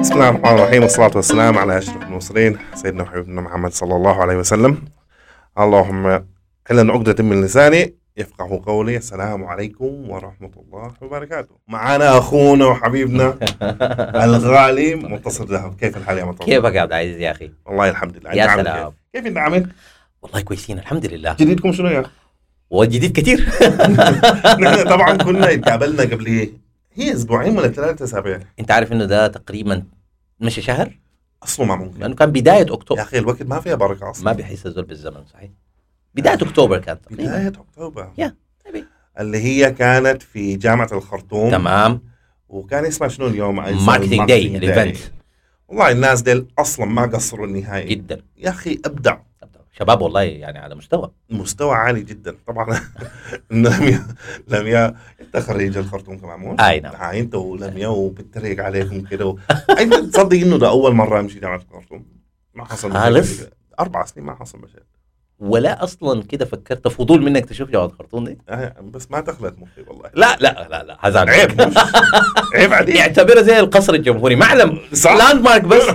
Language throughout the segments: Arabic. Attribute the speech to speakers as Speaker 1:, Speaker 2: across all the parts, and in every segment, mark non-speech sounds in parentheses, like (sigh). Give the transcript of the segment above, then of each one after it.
Speaker 1: بسم الله الرحمن الرحيم والصلاة والسلام على أشرف المرسلين سيدنا وحبيبنا محمد صلى الله عليه وسلم اللهم حلن عقدة من لساني يفقه قولي السلام عليكم ورحمة الله وبركاته معنا أخونا
Speaker 2: (laughs)
Speaker 1: وحبيبنا الغالي منتصر ذهب كيف الحال يا منتصر؟
Speaker 2: كيفك يا عبد العزيز يا اخي؟
Speaker 1: والله الحمد لله
Speaker 2: يا
Speaker 1: أنت عامل
Speaker 2: سلام
Speaker 1: كيف؟ كيف أنت عامل؟
Speaker 2: والله كويسين الحمد لله
Speaker 1: جديدكم شنو يا أخي؟ (laughs)
Speaker 2: والجديد كثير (laughs)
Speaker 1: نحن طبعا كنا اتقابلنا قبل إيه؟ هي أسبوعين ولا ثلاثة أسابيع
Speaker 2: انت عارف انه ده تقريبا مش شهر
Speaker 1: أصله ما ممكن
Speaker 2: لانه كان بدايه
Speaker 1: يا
Speaker 2: اكتوبر
Speaker 1: أخي الوقت ما فيها بركة أصلا
Speaker 2: ما بيحس الزول بالزمن صحيح بدايه اكتوبر كانت تقريبا
Speaker 1: بداية أكتوبر
Speaker 2: إيه؟ يا، أبي.
Speaker 1: اللي هي كانت في جامعة الخرطوم
Speaker 2: تمام
Speaker 1: وكان اسمها شنو اليوم؟
Speaker 2: ماركتينج داي الايفنت
Speaker 1: والله الناس ديل أصلا ما قصروا النهائي
Speaker 2: جدا
Speaker 1: يا أخي أبدع
Speaker 2: شباب والله يعني على مستوى
Speaker 1: مستوى عالي جدا (laughs) طبعا لميا لميا انت خريج الخرطوم آه، كمان مو؟
Speaker 2: اي نعم
Speaker 1: هاي انت ولميا وبتريق عليكم كده و... انت تصدق انه ده اول مره امشي جامعه الخرطوم ما حصل مشاكل
Speaker 2: خالص؟
Speaker 1: كده. اربع سنين ما حصل مشاكل
Speaker 2: ولا اصلا كده فكرت فضول منك تشوف جواد خرطوم دي
Speaker 1: آه، بس ما دخلت مخي والله
Speaker 2: لا لا لا لا هزعل
Speaker 1: عيب
Speaker 2: عليك.
Speaker 1: مش- عيب عليك
Speaker 2: يعتبرها زي القصر الجمهوري معلم
Speaker 1: صح؟
Speaker 2: لاند مارك
Speaker 1: (laughs)
Speaker 2: بس (laughs)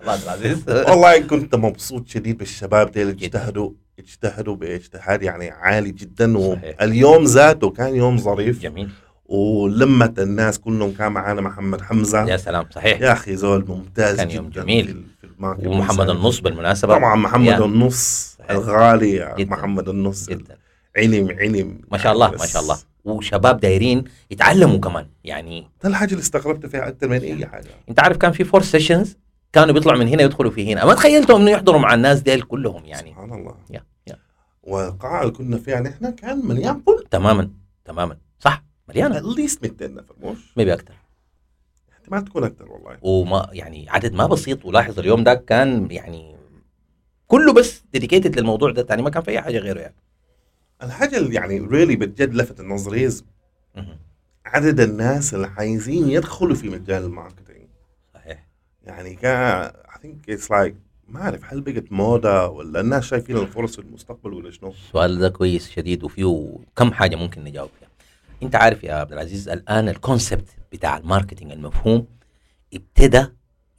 Speaker 2: الله العزيز
Speaker 1: والله كنت مبسوط شديد بالشباب ديل اجتهدوا اجتهدوا باجتهاد يعني عالي جدا
Speaker 2: صحيح.
Speaker 1: واليوم ذاته كان يوم ظريف
Speaker 2: جميل
Speaker 1: ولمة الناس كلهم كان معانا محمد حمزة
Speaker 2: يا سلام صحيح
Speaker 1: يا اخي زول ممتاز
Speaker 2: كان
Speaker 1: جدا
Speaker 2: يوم جميل.
Speaker 1: في ال- في الماركت
Speaker 2: ومحمد
Speaker 1: والسعر.
Speaker 2: النص بالمناسبه
Speaker 1: طبعا محمد
Speaker 2: يا.
Speaker 1: النص
Speaker 2: صحيح.
Speaker 1: الغالي يا
Speaker 2: جداً.
Speaker 1: محمد النص
Speaker 2: جدا
Speaker 1: علم علم
Speaker 2: ما شاء الله
Speaker 1: بس
Speaker 2: ما شاء الله وشباب دايرين يتعلموا كمان يعني
Speaker 1: ده الحاجه اللي استغربت فيها اكثر من اي حاجه
Speaker 2: انت عارف كان في فور سيشنز كانوا بيطلعوا من هنا يدخلوا في هنا ما تخيلتهم انه يحضروا مع الناس ديل كلهم يعني
Speaker 1: سبحان الله
Speaker 2: يا، يا.
Speaker 1: والقاعه اللي كنا فيها نحن كان مليان فل
Speaker 2: تماما تماما صح مليانه
Speaker 1: اتليست 200 نفر مش
Speaker 2: ميبي اكثر
Speaker 1: ما تكون اكثر والله
Speaker 2: وما يعني عدد ما بسيط ولاحظ اليوم ده كان يعني كله بس ديديكيتد للموضوع ده يعني ما كان في اي حاجه غيره يعني
Speaker 1: الحاجه اللي يعني ريلي بجد لفت النظر هي
Speaker 2: مهم.
Speaker 1: عدد الناس اللي عايزين يدخلوا في مجال الماركتينج
Speaker 2: صحيح
Speaker 1: يعني كان I think it's like ما اعرف هل بقت موضه ولا الناس شايفين الفرص في المستقبل ولا شنو؟
Speaker 2: السؤال ده كويس شديد وفيه كم حاجه ممكن نجاوب فيها انت عارف يا عبد العزيز الان الكونسبت بتاع الماركتينج المفهوم ابتدى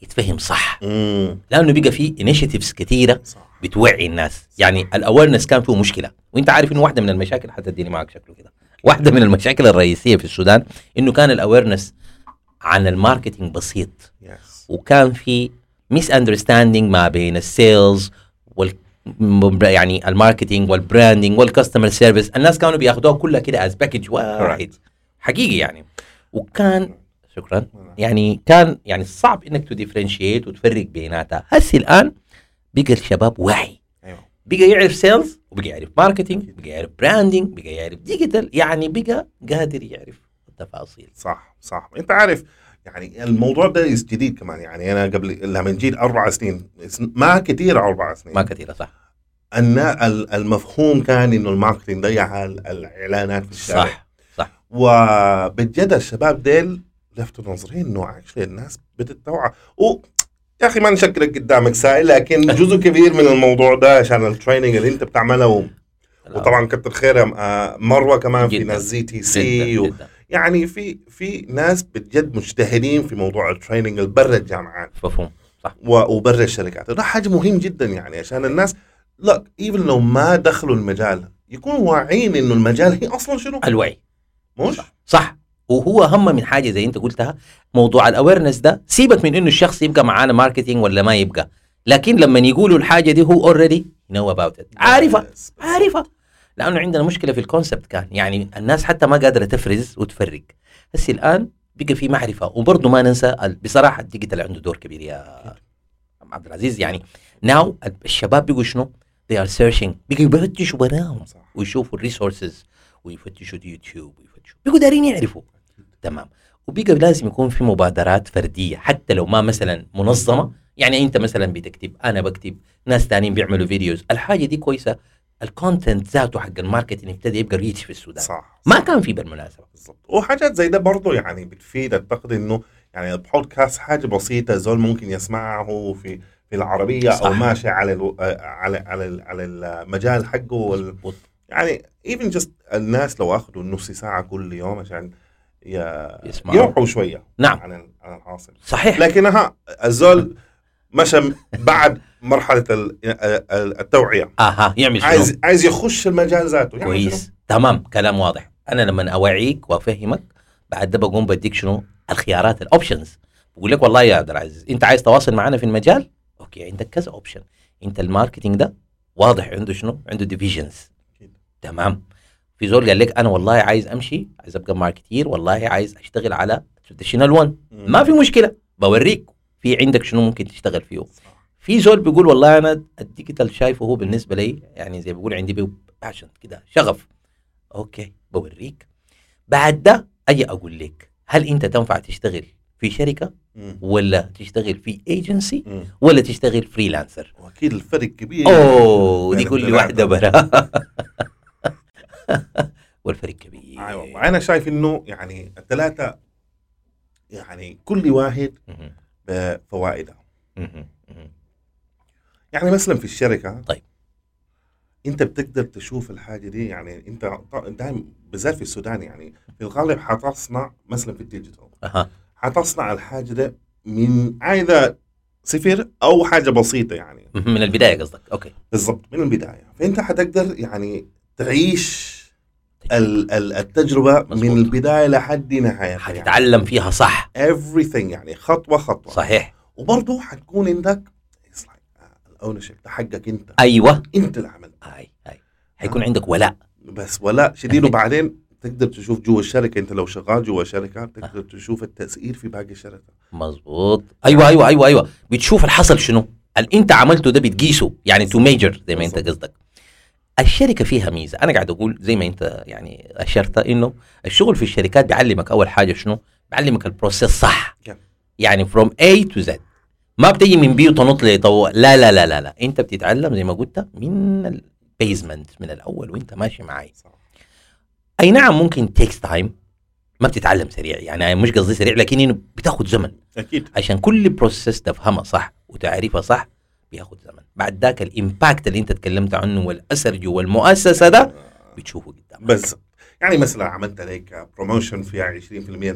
Speaker 2: يتفهم صح
Speaker 1: امم
Speaker 2: لانه بقى في انيشيتيفز كثيره
Speaker 1: صح
Speaker 2: بتوعي الناس يعني الاويرنس كان فيه مشكله وانت عارف انه واحده من المشاكل حتديني معك شكله كده واحده من المشاكل الرئيسيه في السودان انه كان الاويرنس عن الماركتينج بسيط
Speaker 1: يس
Speaker 2: وكان في ميس اندرستاندينج ما بين السيلز وال م- يعني الماركتينج والبراندنج والكاستمر سيرفيس الناس كانوا بياخدوها كلها كده از باكج واحد
Speaker 1: Correct.
Speaker 2: حقيقي يعني وكان شكرا يعني كان يعني صعب انك تديفرنشيت وتفرق بيناتها هسي الان بقى الشباب واعي
Speaker 1: ايوه
Speaker 2: بقى يعرف سيلز وبقى يعرف ماركتينج بقى يعرف براندنج بقى يعرف ديجيتال يعني بقى قادر يعرف التفاصيل
Speaker 1: صح صح انت عارف يعني الموضوع ده is جديد كمان يعني انا قبل لما جيت اربع سنين ما كثير اربع سنين
Speaker 2: ما كثيره صح
Speaker 1: أن ال- المفهوم كان انه الماركتينج ده يعني ال- الاعلانات في الشارع
Speaker 2: صح
Speaker 1: وبجد الشباب ديل لفتوا نظري انه اكشلي الناس بتتوعى و يا اخي ما نشكلك قدامك سائل لكن جزء كبير من الموضوع ده عشان التريننج اللي انت بتعمله و- وطبعا كتر خيرها آه، مروه كمان في
Speaker 2: جداً،
Speaker 1: ناس زي تي سي
Speaker 2: جدا
Speaker 1: و...
Speaker 2: جدا
Speaker 1: يعني في في ناس بجد مجتهدين في موضوع التريننج اللي برا الجامعات
Speaker 2: مفهوم
Speaker 1: و- وبرا الشركات ده حاجه مهم جدا يعني عشان الناس لا ايفن لو ما دخلوا المجال يكونوا واعيين انه المجال هي اصلا شنو
Speaker 2: الوعي
Speaker 1: مش
Speaker 2: صح وهو اهم من حاجه زي انت قلتها موضوع الاويرنس ده سيبك من انه الشخص يبقى معانا ماركتينج ولا ما يبقى لكن لما يقولوا الحاجه دي هو اوريدي نو اباوت ات عارفه
Speaker 1: بس- بس-
Speaker 2: عارفه لانه عندنا مشكله في الكونسبت كان يعني الناس حتى ما قادره تفرز وتفرق بس الان بقى في معرفه وبرضه ما ننسى ال- بصراحه الديجيتال عنده دور كبير يا عبد العزيز يعني ناو الشباب بيقوا شنو؟ they are searching بقوا يفتشوا براهم
Speaker 1: صح
Speaker 2: ويشوفوا الريسورسز ويفتشوا اليوتيوب ويفتشوا بيقوا دارين يعرفوا تمام وبيقى لازم يكون في مبادرات فرديه حتى لو ما مثلا منظمه يعني انت مثلا بتكتب انا بكتب ناس تانيين بيعملوا فيديوز الحاجه دي كويسه الكونتنت ذاته حق الماركتنج ابتدى يبقى ريتش في السودان
Speaker 1: صح
Speaker 2: ما كان في بالمناسبه
Speaker 1: بالضبط وحاجات زي ده برضه يعني بتفيد اعتقد انه يعني البودكاست حاجه بسيطه زول ممكن يسمعها هو في في العربيه صح. او
Speaker 2: صح.
Speaker 1: ماشي على الو... آه، على على ال- على المجال حقه وال...
Speaker 2: مظبوط
Speaker 1: يعني ايفن جست الناس لو اخذوا نص ساعه كل يوم عشان ي-
Speaker 2: يسمعوا.
Speaker 1: يوعوا شويه
Speaker 2: نعم
Speaker 1: عن ال- عن العاصمه
Speaker 2: صحيح
Speaker 1: لكنها الزول مشى بعد مرحله ال- ال- التوعيه
Speaker 2: اها آه، يعمل شنو
Speaker 1: عايز عايز يخش المجال ذاته يعني يعمل شنو؟
Speaker 2: كويس تمام كلام واضح انا لما اوعيك وافهمك بعد ده بقوم بديك شنو الخيارات الاوبشنز بقول لك والله يا عبد العزيز انت عايز تواصل معنا في المجال اوكي عندك كذا اوبشن انت الماركتينج ده واضح عنده شنو عنده ديفيجنز
Speaker 1: أكيد.
Speaker 2: تمام في زول قال لك انا والله عايز امشي عايز ابقى ماركتير والله عايز اشتغل على تراديشنال 1
Speaker 1: مم.
Speaker 2: ما في مشكله بوريك في عندك شنو ممكن تشتغل فيه في زول بيقول والله انا الديجيتال شايفه هو بالنسبه لي يعني زي بيقول عندي باشن كده شغف اوكي بوريك بعد ده اجي اقول لك هل انت تنفع تشتغل في شركه
Speaker 1: مم.
Speaker 2: ولا تشتغل في ايجنسي
Speaker 1: مم.
Speaker 2: ولا تشتغل فريلانسر
Speaker 1: واكيد الفرق كبير
Speaker 2: اوه دي
Speaker 1: بين
Speaker 2: كل
Speaker 1: الثلاثة.
Speaker 2: واحده برا (laughs) والفريق كبير
Speaker 1: ايوه انا شايف انه يعني الثلاثه يعني كل واحد
Speaker 2: مهم.
Speaker 1: بفوائدها
Speaker 2: مهم. مهم.
Speaker 1: يعني مثلا في الشركه
Speaker 2: طيب.
Speaker 1: انت بتقدر تشوف الحاجه دي يعني انت ط- دايم بالذات في السودان يعني في الغالب حتصنع مثلا في الديجيتال
Speaker 2: اها
Speaker 1: حتصنع الحاجه ده من عايزه صفر او حاجه بسيطه يعني
Speaker 2: مهم. من البدايه قصدك اوكي
Speaker 1: بالضبط من البدايه فانت حتقدر يعني تعيش ال- ال- التجربه
Speaker 2: مظبوط.
Speaker 1: من البدايه لحد نهايتها يعني.
Speaker 2: حتتعلم فيها صح
Speaker 1: everything يعني خطوه خطوه
Speaker 2: صحيح
Speaker 1: وبرضه حتكون عندك الاونشيب ده حقك انت
Speaker 2: ايوه
Speaker 1: انت اللي عملت
Speaker 2: هاي هاي حيكون عندك ولاء
Speaker 1: بس ولا شديد وبعدين تقدر تشوف جوا الشركه انت لو شغال جوا شركه
Speaker 2: أه.
Speaker 1: تقدر تشوف التاثير في باقي الشركه
Speaker 2: مظبوط ايوه ايوه ايوه ايوه بتشوف الحصل شنو اللي انت عملته ده بتقيسه يعني تو ميجر زي ما انت
Speaker 1: بالظبط.
Speaker 2: قصدك الشركه فيها ميزه انا قاعد اقول زي ما انت يعني اشرت انه الشغل في الشركات بيعلمك اول حاجه شنو بيعلمك البروسيس صح
Speaker 1: كم.
Speaker 2: يعني فروم A تو Z ما بتجي من بي وتنط لي طو... لا لا لا لا لا انت بتتعلم زي ما قلت من البيزمنت من الاول وانت ماشي معاي
Speaker 1: صح
Speaker 2: اي نعم ممكن تيكس تايم ما بتتعلم سريع يعني مش قصدي سريع لكن إنه بتاخد زمن
Speaker 1: اكيد
Speaker 2: عشان كل بروسيس تفهمها صح وتعريفها صح بياخد زمن بعد ذاك الامباكت اللي انت تكلمت عنه والاثر جوا المؤسسه ده بتشوفه قدام
Speaker 1: بس يعني مثلا عملت لك بروموشن فيها 20%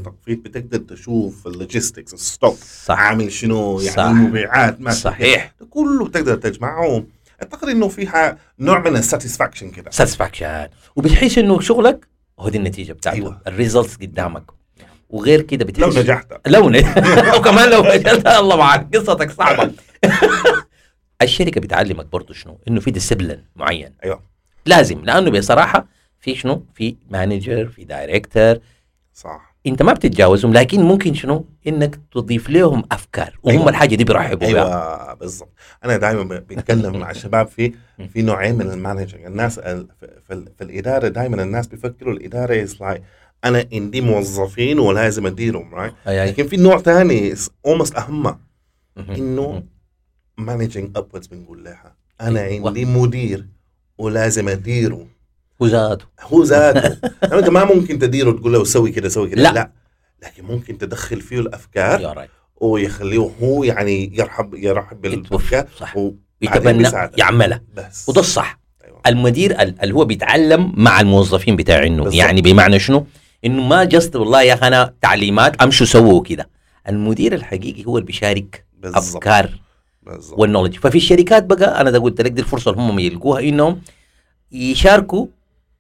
Speaker 1: تخفيض بتقدر تشوف اللوجيستكس الستوك
Speaker 2: صح
Speaker 1: عامل شنو يعني
Speaker 2: صح.
Speaker 1: المبيعات ما
Speaker 2: صحيح
Speaker 1: كله بتقدر تجمعه اعتقد انه فيها نوع من الساتسفاكشن كده
Speaker 2: ساتسفاكشن وبتحس انه شغلك هو دي النتيجه بتاعته
Speaker 1: أيوة.
Speaker 2: أيوة. الريزلتس قدامك وغير كده
Speaker 1: لو
Speaker 2: بتحس
Speaker 1: نجحت
Speaker 2: لو ن... (laughs) وكمان لو فشلت الله معك قصتك صعبه (laughs) الشركه بتعلمك برضه شنو انه في ديسبلين معين
Speaker 1: أيوة.
Speaker 2: لازم لانه بصراحه في شنو في مانجر في دايركتور
Speaker 1: صح
Speaker 2: انت ما بتتجاوزهم لكن ممكن شنو انك تضيف لهم افكار وهم
Speaker 1: أيوة.
Speaker 2: أيوة. الحاجه دي بيرحبوا بها
Speaker 1: ايوه بالضبط انا دائما ب- بتكلم مع الشباب في
Speaker 2: (laughs)
Speaker 1: في نوعين من المانجر الناس ال- في- في, ال- في الاداره دائما الناس بيفكروا الاداره از لايك انا عندي موظفين ولازم اديرهم right?
Speaker 2: أي أي.
Speaker 1: لكن في نوع ثاني almost اهم
Speaker 2: مهم.
Speaker 1: إنه
Speaker 2: مهم.
Speaker 1: مانجنج ابوردز بنقول لها انا
Speaker 2: أيوة.
Speaker 1: عندي مدير ولازم اديره
Speaker 2: وزاته
Speaker 1: هو ذاته
Speaker 2: (laughs)
Speaker 1: يعني انت ما ممكن تديره تقول له سوي كده سوي كده
Speaker 2: لا.
Speaker 1: لا لكن ممكن تدخل فيه الافكار
Speaker 2: يا راجل.
Speaker 1: ويخليه هو يعني يرحب يرحب بالافكار
Speaker 2: يتوف- صح
Speaker 1: و-
Speaker 2: يتبنى
Speaker 1: بيساعدك.
Speaker 2: يعملها
Speaker 1: بس
Speaker 2: وده الصح
Speaker 1: أيوة.
Speaker 2: المدير ال- اللي هو بيتعلم مع الموظفين بتاعينه
Speaker 1: بالظبط.
Speaker 2: يعني بمعنى شنو انه ما جست والله يا اخي انا تعليمات امشوا سووا كده المدير الحقيقي هو اللي بيشارك
Speaker 1: بالظبط
Speaker 2: افكار
Speaker 1: بالظبط
Speaker 2: والنولج ففي الشركات بقى انا ده قلت لك دي الفرصه اللي هم يلقوها انهم يشاركوا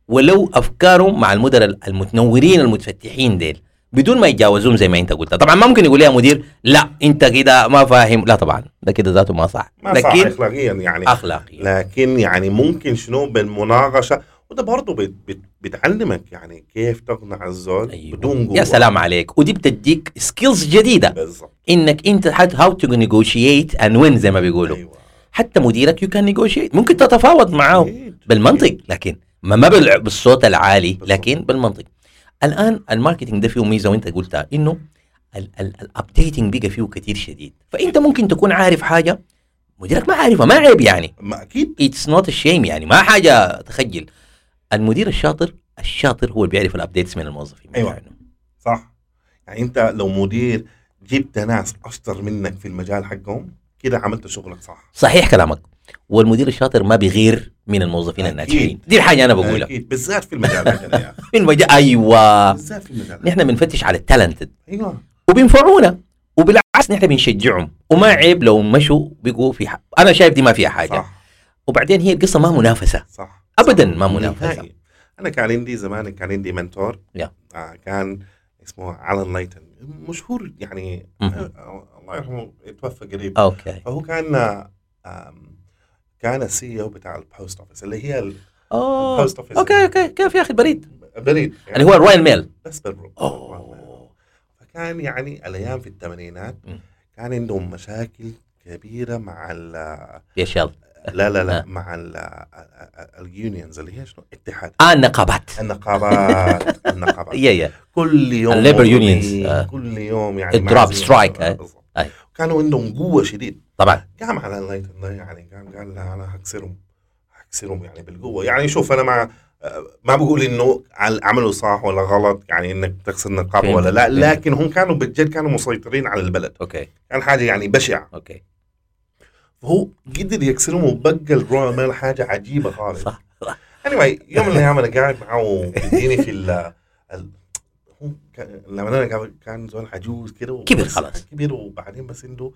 Speaker 2: ولو افكارهم مع المدراء المتنورين المتفتحين ديل بدون ما يتجاوزوهم زي ما انت قلت طبعا ما ممكن يقول لي يا مدير لا انت كده ما فاهم لا طبعا ده كده ذاته ما صح
Speaker 1: ما صح
Speaker 2: لكن
Speaker 1: اخلاقيا يعني
Speaker 2: اخلاقي
Speaker 1: لكن يعني ممكن شنو بالمناقشه وده برضه بت بت بتعلمك يعني كيف تقنع الزول
Speaker 2: أيوة.
Speaker 1: أيوة. بدون قوه
Speaker 2: يا سلام عليك ودي بتديك سكيلز جديده
Speaker 1: بالظبط
Speaker 2: انك انت هاو تو نيجوشيت اند وين زي ما بيقولوا
Speaker 1: ايوه
Speaker 2: حتى مديرك يو كان نيجوشيت ممكن تتفاوض معاه
Speaker 1: أكيد.
Speaker 2: بالمنطق لكن ما ما بالع- بالصوت العالي
Speaker 1: بالظبط.
Speaker 2: لكن بالمنطق الان الماركتينج ده فيه ميزه وانت قلتها انه الابديتنج بقى فيه كتير شديد فانت ممكن تكون عارف حاجه مديرك ما عارفها ما عيب يعني
Speaker 1: ما اكيد
Speaker 2: اتس نوت شيم يعني ما حاجه تخجل المدير الشاطر الشاطر هو اللي بيعرف الابديتس من الموظفين
Speaker 1: أيوة.
Speaker 2: بتاعنا.
Speaker 1: صح يعني انت لو مدير جبت ناس اشطر منك في المجال حقهم كده عملت شغلك صح
Speaker 2: صحيح كلامك والمدير الشاطر ما بيغير من الموظفين
Speaker 1: أكيد.
Speaker 2: الناجحين دي الحاجه انا بقولها
Speaker 1: أكيد بالذات في المجال ده كده
Speaker 2: (laughs)
Speaker 1: يا أخي.
Speaker 2: في المجال ايوه
Speaker 1: بالذات في المجال ده.
Speaker 2: نحن بنفتش على التالنتد
Speaker 1: ايوه
Speaker 2: وبينفعونا وبالعكس نحن بنشجعهم وما عيب لو مشوا بيقوا في حق. انا شايف دي ما فيها حاجه صح.
Speaker 1: صح
Speaker 2: وبعدين هي القصه ما منافسه
Speaker 1: صح
Speaker 2: ابدا ما منافسه
Speaker 1: نهائي. انا كان عندي زمان كان عندي منتور
Speaker 2: يا.
Speaker 1: آه كان اسمه علان لايتن مشهور يعني
Speaker 2: مهم.
Speaker 1: آه، آه، الله يرحمه توفى قريب
Speaker 2: اوكي
Speaker 1: فهو كان آه، آم، كان السي او بتاع البوست اوفيس اللي هي ال-
Speaker 2: اوه
Speaker 1: البوست اوفيس
Speaker 2: اوكي اوكي كيف يا اخي البريد
Speaker 1: بريد يعني
Speaker 2: اللي هو الرويال ميل
Speaker 1: بس بالروم
Speaker 2: أوه.
Speaker 1: فكان يعني الايام في الثمانينات
Speaker 2: مم.
Speaker 1: كان عندهم مشاكل كبيره مع ال
Speaker 2: يا شال
Speaker 1: لا لا لا
Speaker 2: (laughs) آه.
Speaker 1: مع ال- آه، اليونيونز اللي هي شنو اتحاد
Speaker 2: اه النقابات (laughs)
Speaker 1: النقابات النقابات
Speaker 2: يا يا
Speaker 1: كل يوم
Speaker 2: الليبر
Speaker 1: موضوعين،
Speaker 2: يونيونز، آه.
Speaker 1: كل يوم يعني
Speaker 2: الدروب
Speaker 1: معزين.
Speaker 2: سترايك،
Speaker 1: آه،
Speaker 2: آه.
Speaker 1: بالضبط.
Speaker 2: أي.
Speaker 1: كانوا عندهم قوه شديد
Speaker 2: طبعا
Speaker 1: قام على اللايت الله يعني قام قال لا انا هكسرهم هكسرهم يعني بالقوه يعني شوف انا ما آه، ما بقول انه عل- عملوا صح ولا غلط يعني انك تكسر نقابه
Speaker 2: فهمت،
Speaker 1: ولا لا
Speaker 2: فهمت.
Speaker 1: لكن هم كانوا بجد كانوا مسيطرين على البلد
Speaker 2: اوكي
Speaker 1: كان حاجه يعني بشعه
Speaker 2: اوكي
Speaker 1: فهو قدر يكسرهم وبقى الرويال ميل حاجه عجيبه خالص
Speaker 2: صح صح.
Speaker 1: anyway يوم من الايام انا قاعد معه بيديني في ال ال- هو كان- لما انا قاعد- كان زول عجوز كده و-
Speaker 2: كبر
Speaker 1: بس-
Speaker 2: خلاص.
Speaker 1: كبر وبعدين بس آه، عنده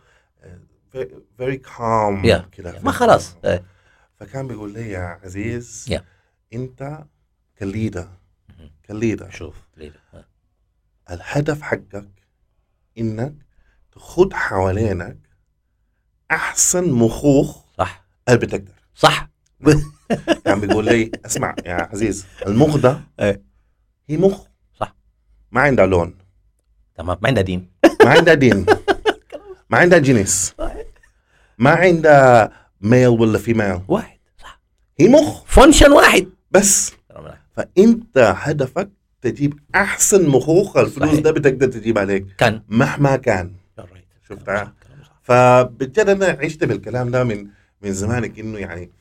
Speaker 1: فيري كام
Speaker 2: Yeah.
Speaker 1: كده
Speaker 2: ما خلاص آه.
Speaker 1: فكان بيقول لي يا عزيز
Speaker 2: Yeah.
Speaker 1: انت كليدر
Speaker 2: مهم.
Speaker 1: كليدر
Speaker 2: إيه. شوف ليلى. آه.
Speaker 1: الهدف حقك انك تخد حوالينك احسن مخوخ
Speaker 2: صح
Speaker 1: اللي بتقدر
Speaker 2: صح
Speaker 1: كان يعني بيقول لي اسمع يا عزيز المخ ده
Speaker 2: إيه.
Speaker 1: هي مخ
Speaker 2: صح.
Speaker 1: ما عندها لون
Speaker 2: تمام ما عندها دين
Speaker 1: ما عندها دين ما عندها جنس ما عندها ميل ولا فيميل
Speaker 2: واحد صح
Speaker 1: هي مخ
Speaker 2: فانكشن واحد
Speaker 1: بس فانت هدفك تجيب احسن مخوخ الفلوس
Speaker 2: صحيح.
Speaker 1: ده بتقدر تجيب عليك
Speaker 2: كان
Speaker 1: مهما كان شفتها؟ فبالجد انا عشت بالكلام ده من من زمانك انه يعني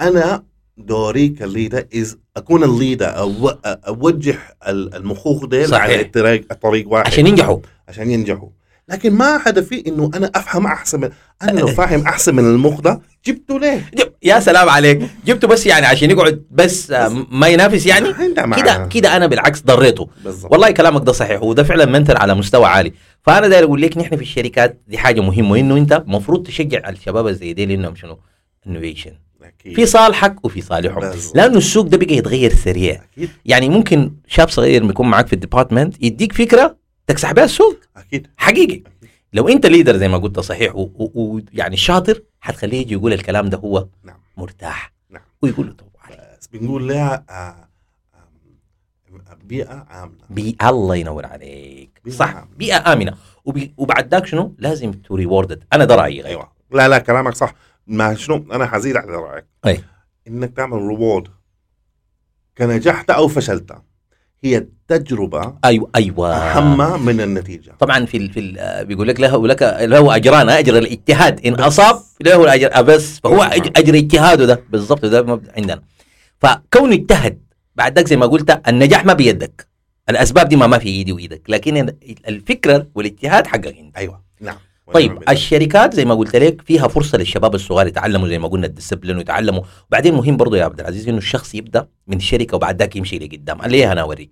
Speaker 1: انا دوري كليدر از اكون الليدر أو اوجه ال- المخوخ ديل
Speaker 2: صحيح.
Speaker 1: على الطريق الطريق واحد
Speaker 2: عشان ينجحوا
Speaker 1: عشان ينجحوا لكن ما هدفي انه انا افهم احسن من انا
Speaker 2: أه.
Speaker 1: لو فاهم احسن من المخ ده جبته ليه؟
Speaker 2: جب- يا سلام عليك جبته بس يعني عشان يقعد بس آه، م- ما ينافس يعني
Speaker 1: ما عندها
Speaker 2: كده
Speaker 1: معنى.
Speaker 2: كده انا بالعكس ضريته
Speaker 1: بالظبط
Speaker 2: والله كلامك ده صحيح وده فعلا منتر على مستوى عالي فانا داير اقول لك نحن في الشركات دي حاجه مهمه انه انت المفروض تشجع الشباب زي دي لانهم شنو انوفيشن
Speaker 1: أكيد.
Speaker 2: في صالحك وفي صالحهم
Speaker 1: بالظبط.
Speaker 2: لانه السوق ده بقى يتغير سريع
Speaker 1: اكيد
Speaker 2: يعني ممكن شاب صغير يكون معاك في الديبارتمنت يديك فكره تكسح بها السوق
Speaker 1: اكيد
Speaker 2: حقيقي لو انت ليدر زي ما قلت صحيح ويعني و... و... يعني شاطر حتخليه يجي يقول الكلام ده هو
Speaker 1: نعم.
Speaker 2: مرتاح
Speaker 1: نعم.
Speaker 2: ويقول له طبعا
Speaker 1: بس بنقول لها آه، آم، بيئه امنه
Speaker 2: بيئة الله ينور عليك
Speaker 1: بيئة
Speaker 2: صح
Speaker 1: آمنة.
Speaker 2: بيئة آمنة وبي... وبعد ذاك شنو لازم تو ريوردد انا ده رأيي أيوة.
Speaker 1: ايوه لا لا كلامك صح ما شنو انا حزيد على رايك
Speaker 2: أي.
Speaker 1: انك تعمل ريورد كنجحت او فشلت هي التجربه
Speaker 2: ايوه ايوه
Speaker 1: اهم من النتيجه
Speaker 2: طبعا في ال... في ال... آه، بيقول لك له لك له اجران اجر الاجتهاد ان اصاب له الاجر آه، بس فهو
Speaker 1: نعم.
Speaker 2: أج... اجر اجتهاده ده بالضبط ده مبدأ عندنا فكونه اجتهد بعد ذاك زي ما قلت النجاح ما بيدك الاسباب دي ما ما في ايدي وايدك لكن ال- الفكره والاجتهاد حقك انت
Speaker 1: ايوه نعم
Speaker 2: طيب الشركات زي ما قلت لك فيها فرصه للشباب الصغار يتعلموا زي ما قلنا الديسبلين ويتعلموا وبعدين مهم برضه يا عبد العزيز انه الشخص يبدا من شركه وبعد ذاك يمشي لقدام ليه انا اوريك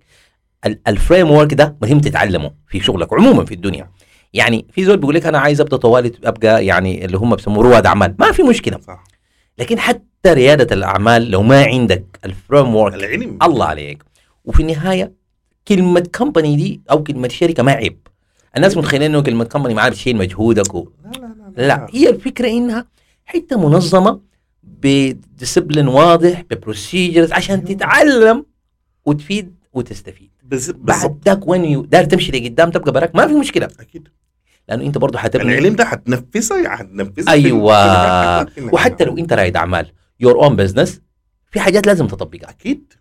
Speaker 2: الفريم ورك ده مهم تتعلمه في شغلك عموما في الدنيا يعني في زول بيقول لك انا عايز ابدا طوالي ابقى يعني اللي هم بيسموه رواد اعمال ما في مشكله
Speaker 1: صح
Speaker 2: لكن حتى رياده الاعمال لو ما عندك الفريم ورك
Speaker 1: العلم
Speaker 2: الله عليك وفي النهايه كلمه كمباني دي او كلمه شركه ما عيب الناس متخيلين انه كلمه كمباني معناها بتشيل مجهودك و...
Speaker 1: لا لا لا,
Speaker 2: لا هي الفكره انها حته منظمه بديسبلين واضح ببروسيجرز عشان
Speaker 1: أيوه.
Speaker 2: تتعلم وتفيد وتستفيد
Speaker 1: بز- بالظبط
Speaker 2: بعد ذاك وين يو داير تمشي لقدام تبقى براك ما في مشكله
Speaker 1: اكيد
Speaker 2: لانه انت برضه حتبني
Speaker 1: يعني العلم ده حتنفذه يعني حتنفذه في
Speaker 2: ايوه
Speaker 1: الشركات أكتر منك.
Speaker 2: وحتى لو انت رائد اعمال يور اون بزنس في حاجات لازم تطبقها
Speaker 1: اكيد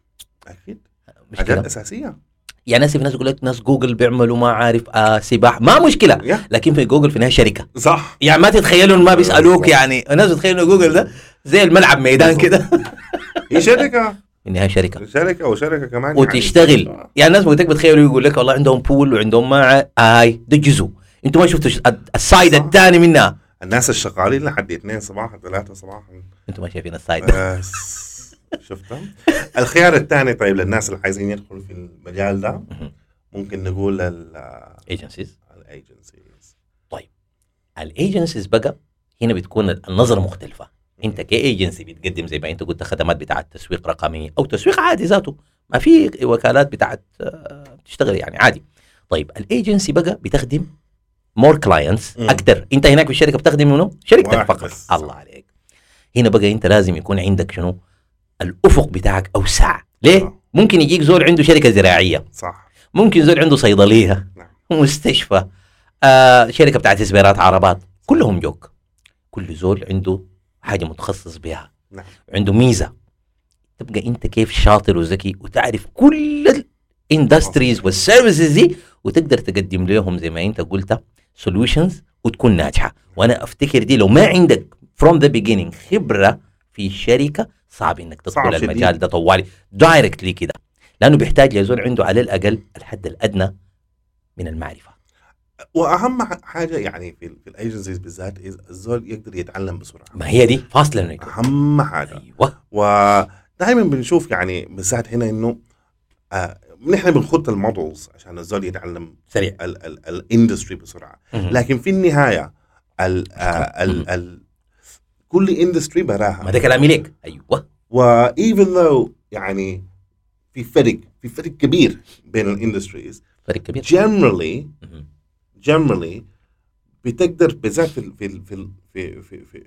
Speaker 1: اكيد
Speaker 2: مش
Speaker 1: حاجات
Speaker 2: كده؟
Speaker 1: اساسيه
Speaker 2: يعني ناس في ناس يقول لك ناس جوجل بيعملوا ما عارف آه سباحه ما مشكله
Speaker 1: يا.
Speaker 2: لكن في جوجل في النهايه شركه
Speaker 1: صح
Speaker 2: يعني ما تتخيلوا إن ما بيسالوك
Speaker 1: بالظبط.
Speaker 2: يعني الناس بتتخيل إن جوجل ده زي الملعب ميدان
Speaker 1: بالظبط.
Speaker 2: كده (laughs)
Speaker 1: هي شركه
Speaker 2: في النهايه شركه
Speaker 1: شركه وشركه كمان يعني.
Speaker 2: وتشتغل يعني الناس وقتك بتخيلوا يقول لك والله عندهم بول وعندهم مع هاي ده جزء انتوا ما شفتوا الش- السايد
Speaker 1: صح.
Speaker 2: الثاني منها
Speaker 1: الناس الشغالين لحد 2 صباحا 3 صباحا
Speaker 2: انتم ما شايفين السايد ده
Speaker 1: بس شفتها الخيار الثاني طيب للناس اللي عايزين يدخلوا في المجال ده
Speaker 2: (laughs)
Speaker 1: ممكن نقول
Speaker 2: ايجنسيز
Speaker 1: الايجنسيز
Speaker 2: الايجنسيز بقى هنا بتكون النظره مختلفه انت كايجنسي بتقدم زي ما انت قلت خدمات بتاعت تسويق رقمي او تسويق عادي ذاته ما في وكالات بتاعت آه، بتشتغل يعني عادي طيب الايجنسي بقى بتخدم مور كلاينتس
Speaker 1: مم.
Speaker 2: اكثر انت هناك في الشركه بتخدم منو شركتك
Speaker 1: واحد
Speaker 2: فقط
Speaker 1: بس.
Speaker 2: الله عليك هنا بقى انت لازم يكون عندك شنو الافق بتاعك اوسع ليه
Speaker 1: آه.
Speaker 2: ممكن يجيك زول عنده شركه زراعيه
Speaker 1: صح
Speaker 2: ممكن زول عنده صيدليه
Speaker 1: نعم.
Speaker 2: مستشفى آه شركه بتاعت سبيرات عربات كلهم جوك كل زول عنده حاجه متخصص بها
Speaker 1: نعم.
Speaker 2: عنده ميزه تبقى انت كيف شاطر وذكي وتعرف كل الاندستريز والسيرفيسز دي وتقدر تقدم لهم زي ما انت قلت سوليوشنز وتكون ناجحه وانا افتكر دي لو ما عندك فروم ذا beginning خبره في الشركه صعب انك
Speaker 1: صعب
Speaker 2: تدخل
Speaker 1: شديد.
Speaker 2: المجال ده طوالي دايركتلي كده لانه بيحتاج لزول عنده على الاقل الحد الادنى من المعرفه
Speaker 1: واهم ح- حاجه يعني في, ال- في الايجنسيز بالذات is الزول يقدر يتعلم بسرعه
Speaker 2: ما هي دي فاصله إنه يكون.
Speaker 1: اهم حاجه
Speaker 2: ايوه
Speaker 1: ودائما بنشوف يعني بالذات هنا انه آه نحن بنخط المودلز عشان الزول يتعلم
Speaker 2: سريع
Speaker 1: الاندستري بسرعه لكن في النهايه ال آه ال ال كل اندستري براها
Speaker 2: ما ده كلامي ليك ايوه
Speaker 1: وايفن لو يعني في فرق في فرق كبير بين الاندستريز
Speaker 2: فرق كبير
Speaker 1: جنرالي
Speaker 2: مهم.
Speaker 1: جنرالي بتقدر بالذات في ال- في ال- في ال- في في في,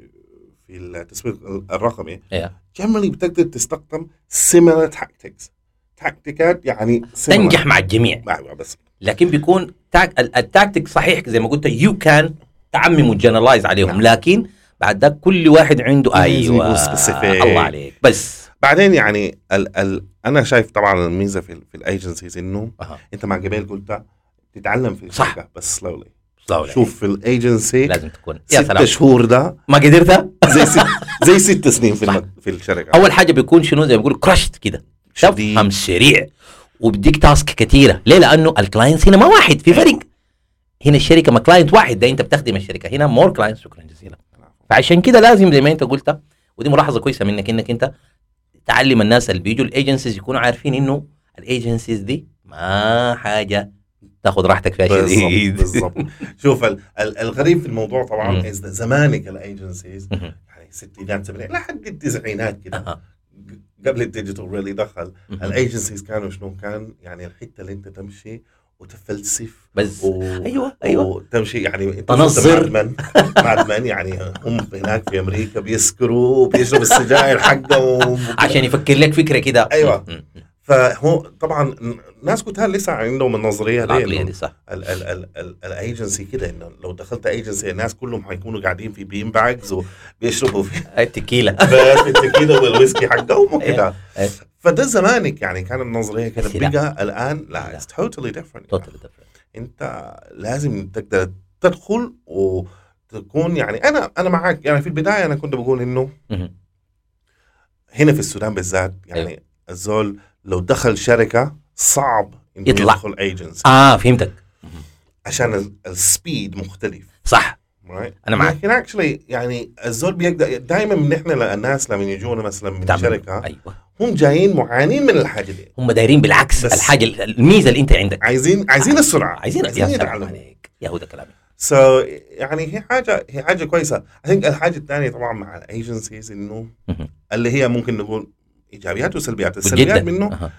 Speaker 1: في التسويق الرقمي
Speaker 2: إيه.
Speaker 1: جنرالي بتقدر تستخدم سيميلر تاكتكس تكتيكات يعني similar.
Speaker 2: تنجح مع الجميع
Speaker 1: ايوه بس
Speaker 2: لكن بيكون تاك ال- التاكتيك صحيح زي ما قلت يو كان تعمم وتجنرالايز
Speaker 1: نعم.
Speaker 2: عليهم لكن بعد ده كل واحد عنده
Speaker 1: لازم يكون
Speaker 2: ايوه
Speaker 1: specific.
Speaker 2: الله عليك بس
Speaker 1: بعدين يعني ال ال انا شايف طبعا الميزه في, ال- في الايجنسيز انه
Speaker 2: أها.
Speaker 1: انت مع جبال قلت تتعلم في
Speaker 2: صح.
Speaker 1: الشركه بس سلولي
Speaker 2: صلوا عليك.
Speaker 1: شوف في الايجنسي
Speaker 2: إيه؟ لازم تكون يا
Speaker 1: ست
Speaker 2: سلام
Speaker 1: شهور ده
Speaker 2: ما قدرتها
Speaker 1: زي ست زي ست سنين في,
Speaker 2: صح.
Speaker 1: الم- في الشركه
Speaker 2: اول حاجه بيكون شنو زي ما بيقولوا كراشت كده
Speaker 1: شديد.
Speaker 2: تفهم سريع وبديك تاسك كثيره ليه لانه الكلاينتس هنا ما واحد في فرق هنا الشركه ما كلاينت واحد ده انت بتخدم الشركه هنا مور كلاينتس شكرا جزيلا فعشان كده لازم زي ما انت قلت ودي ملاحظه كويسه منك انك انت تعلم الناس اللي بيجوا الايجنسيز يكونوا عارفين انه الايجنسيز دي ما حاجه تاخذ راحتك فيها شديد
Speaker 1: بالضبط بالضبط شوف ال- ال- الغريب في الموضوع طبعا
Speaker 2: مم.
Speaker 1: is that زمانك الايجنسيز
Speaker 2: مهم.
Speaker 1: يعني الستينات سبعينات لحد التسعينات كده
Speaker 2: (laughs) أها.
Speaker 1: قبل الديجيتال ريلي دخل
Speaker 2: مهم.
Speaker 1: الايجنسيز كانوا شنو كان يعني الحته اللي انت تمشي وتفلسف
Speaker 2: بس
Speaker 1: و...
Speaker 2: أيوة، أيوة.
Speaker 1: وتمشي يعني انت
Speaker 2: تنظر.
Speaker 1: مادمن مادمن يعني هم هناك في امريكا بيسكروا وبيشرب السجاير حقهم
Speaker 2: (laughs) عشان يفكر لك فكره كده
Speaker 1: أيوة.
Speaker 2: مهم.
Speaker 1: فهو طبعا ناس كتار لسه عندهم النظريه دي
Speaker 2: العقليه
Speaker 1: إنه
Speaker 2: دي صح
Speaker 1: ال- ال- ال- ال- الايجنسي كده انه لو دخلت ايجنسي الناس كلهم حيكونوا قاعدين في بين باجز وبيشربوا
Speaker 2: (laughs)
Speaker 1: في
Speaker 2: التكيله
Speaker 1: في التكيلا والويسكي حقهم وكده
Speaker 2: إيه.
Speaker 1: فده زمانك يعني كان النظريه كده
Speaker 2: بس لا.
Speaker 1: بقى الان لا
Speaker 2: لا.
Speaker 1: اتس توتالي ديفرنت
Speaker 2: Totally different.
Speaker 1: انت لازم تقدر تدخل وتكون يعني انا انا معاك يعني في البدايه انا كنت بقول انه
Speaker 2: مهم.
Speaker 1: هنا في السودان بالذات
Speaker 2: أيوه.
Speaker 1: يعني الزول لو دخل شركه صعب انه
Speaker 2: يطلع.
Speaker 1: يدخل ايجنسي
Speaker 2: اه فهمتك
Speaker 1: عشان ال- السبيد مختلف
Speaker 2: صح
Speaker 1: right?
Speaker 2: أنا معاك.
Speaker 1: لكن اكشلي يعني الزول بيقدر دائما من احنا ل- الناس لما يجونا مثلا من
Speaker 2: بتعمل-
Speaker 1: شركه
Speaker 2: ايوه
Speaker 1: هم جايين معانين من الحاجه دي
Speaker 2: هم دايرين بالعكس
Speaker 1: بس-
Speaker 2: الحاجه الميزه اللي انت عندك
Speaker 1: عايزين عايزين السرعه
Speaker 2: عايزين يعني. يا
Speaker 1: عايزين
Speaker 2: سلام
Speaker 1: يتعلموا
Speaker 2: عليك يا هو ده كلامي
Speaker 1: سو يعني هي حاجه هي حاجه كويسه I think الحاجه الثانيه طبعا مع الايجنسيز انه
Speaker 2: مهم.
Speaker 1: اللي هي ممكن نقول ايجابيات وسلبيات
Speaker 2: جدا
Speaker 1: السلبيات منه
Speaker 2: أها.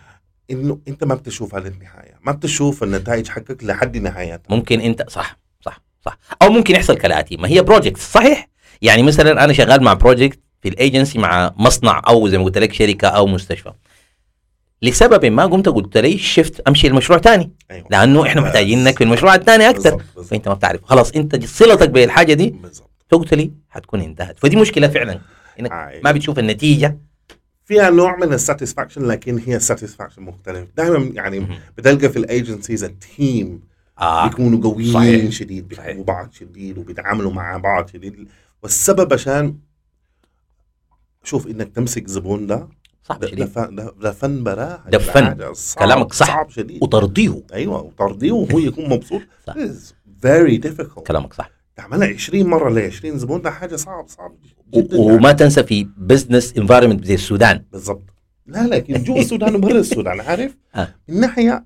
Speaker 1: انه انت ما بتشوفها للنهايه ما بتشوف النتائج حقك لحد نهايتها
Speaker 2: ممكن انت صح صح صح او ممكن يحصل كالاتي ما هي بروجكت صحيح يعني مثلا انا شغال مع بروجكت في الايجنسي مع مصنع او زي ما قلت لك شركه او مستشفى لسبب ما قمت قلت لي شفت امشي المشروع تاني
Speaker 1: ايوه
Speaker 2: لانه احنا
Speaker 1: بس.
Speaker 2: محتاجينك في المشروع الثاني اكثر
Speaker 1: بالظبط، بالظبط،
Speaker 2: فانت ما بتعرف خلاص انت صلتك بالحاجه دي
Speaker 1: بالظبط
Speaker 2: توتالي حتكون انتهت فدي مشكله فعلا انك
Speaker 1: أيوة.
Speaker 2: ما بتشوف النتيجه
Speaker 1: فيها نوع من الساتسفاكشن لكن هي ساتسفاكشن مختلف دائما يعني
Speaker 2: مهم.
Speaker 1: بتلقى في الايجنسيز التيم
Speaker 2: اه
Speaker 1: بيكونوا قويين
Speaker 2: صحيح.
Speaker 1: شديد بيحبوا
Speaker 2: صحيح.
Speaker 1: بعض شديد وبيتعاملوا مع بعض شديد والسبب عشان شوف انك تمسك زبون ده
Speaker 2: صح
Speaker 1: ده- ده
Speaker 2: شديد
Speaker 1: فن- ده ده فن براه
Speaker 2: ده فن. كلامك صح.
Speaker 1: صعب شديد
Speaker 2: وترضيه
Speaker 1: ايوه وترضيه وهو يكون مبسوط
Speaker 2: صح.
Speaker 1: It is very difficult يعني
Speaker 2: كلامك صح
Speaker 1: تعملها 20 مره ل 20 زبون ده حاجه صعب صعب جدا
Speaker 2: و-
Speaker 1: يعني.
Speaker 2: وما تنسى في بزنس انفايرمنت زي السودان
Speaker 1: بالظبط لا لا كده جوا السودان وبرا السودان عارف
Speaker 2: آه.
Speaker 1: من ناحيه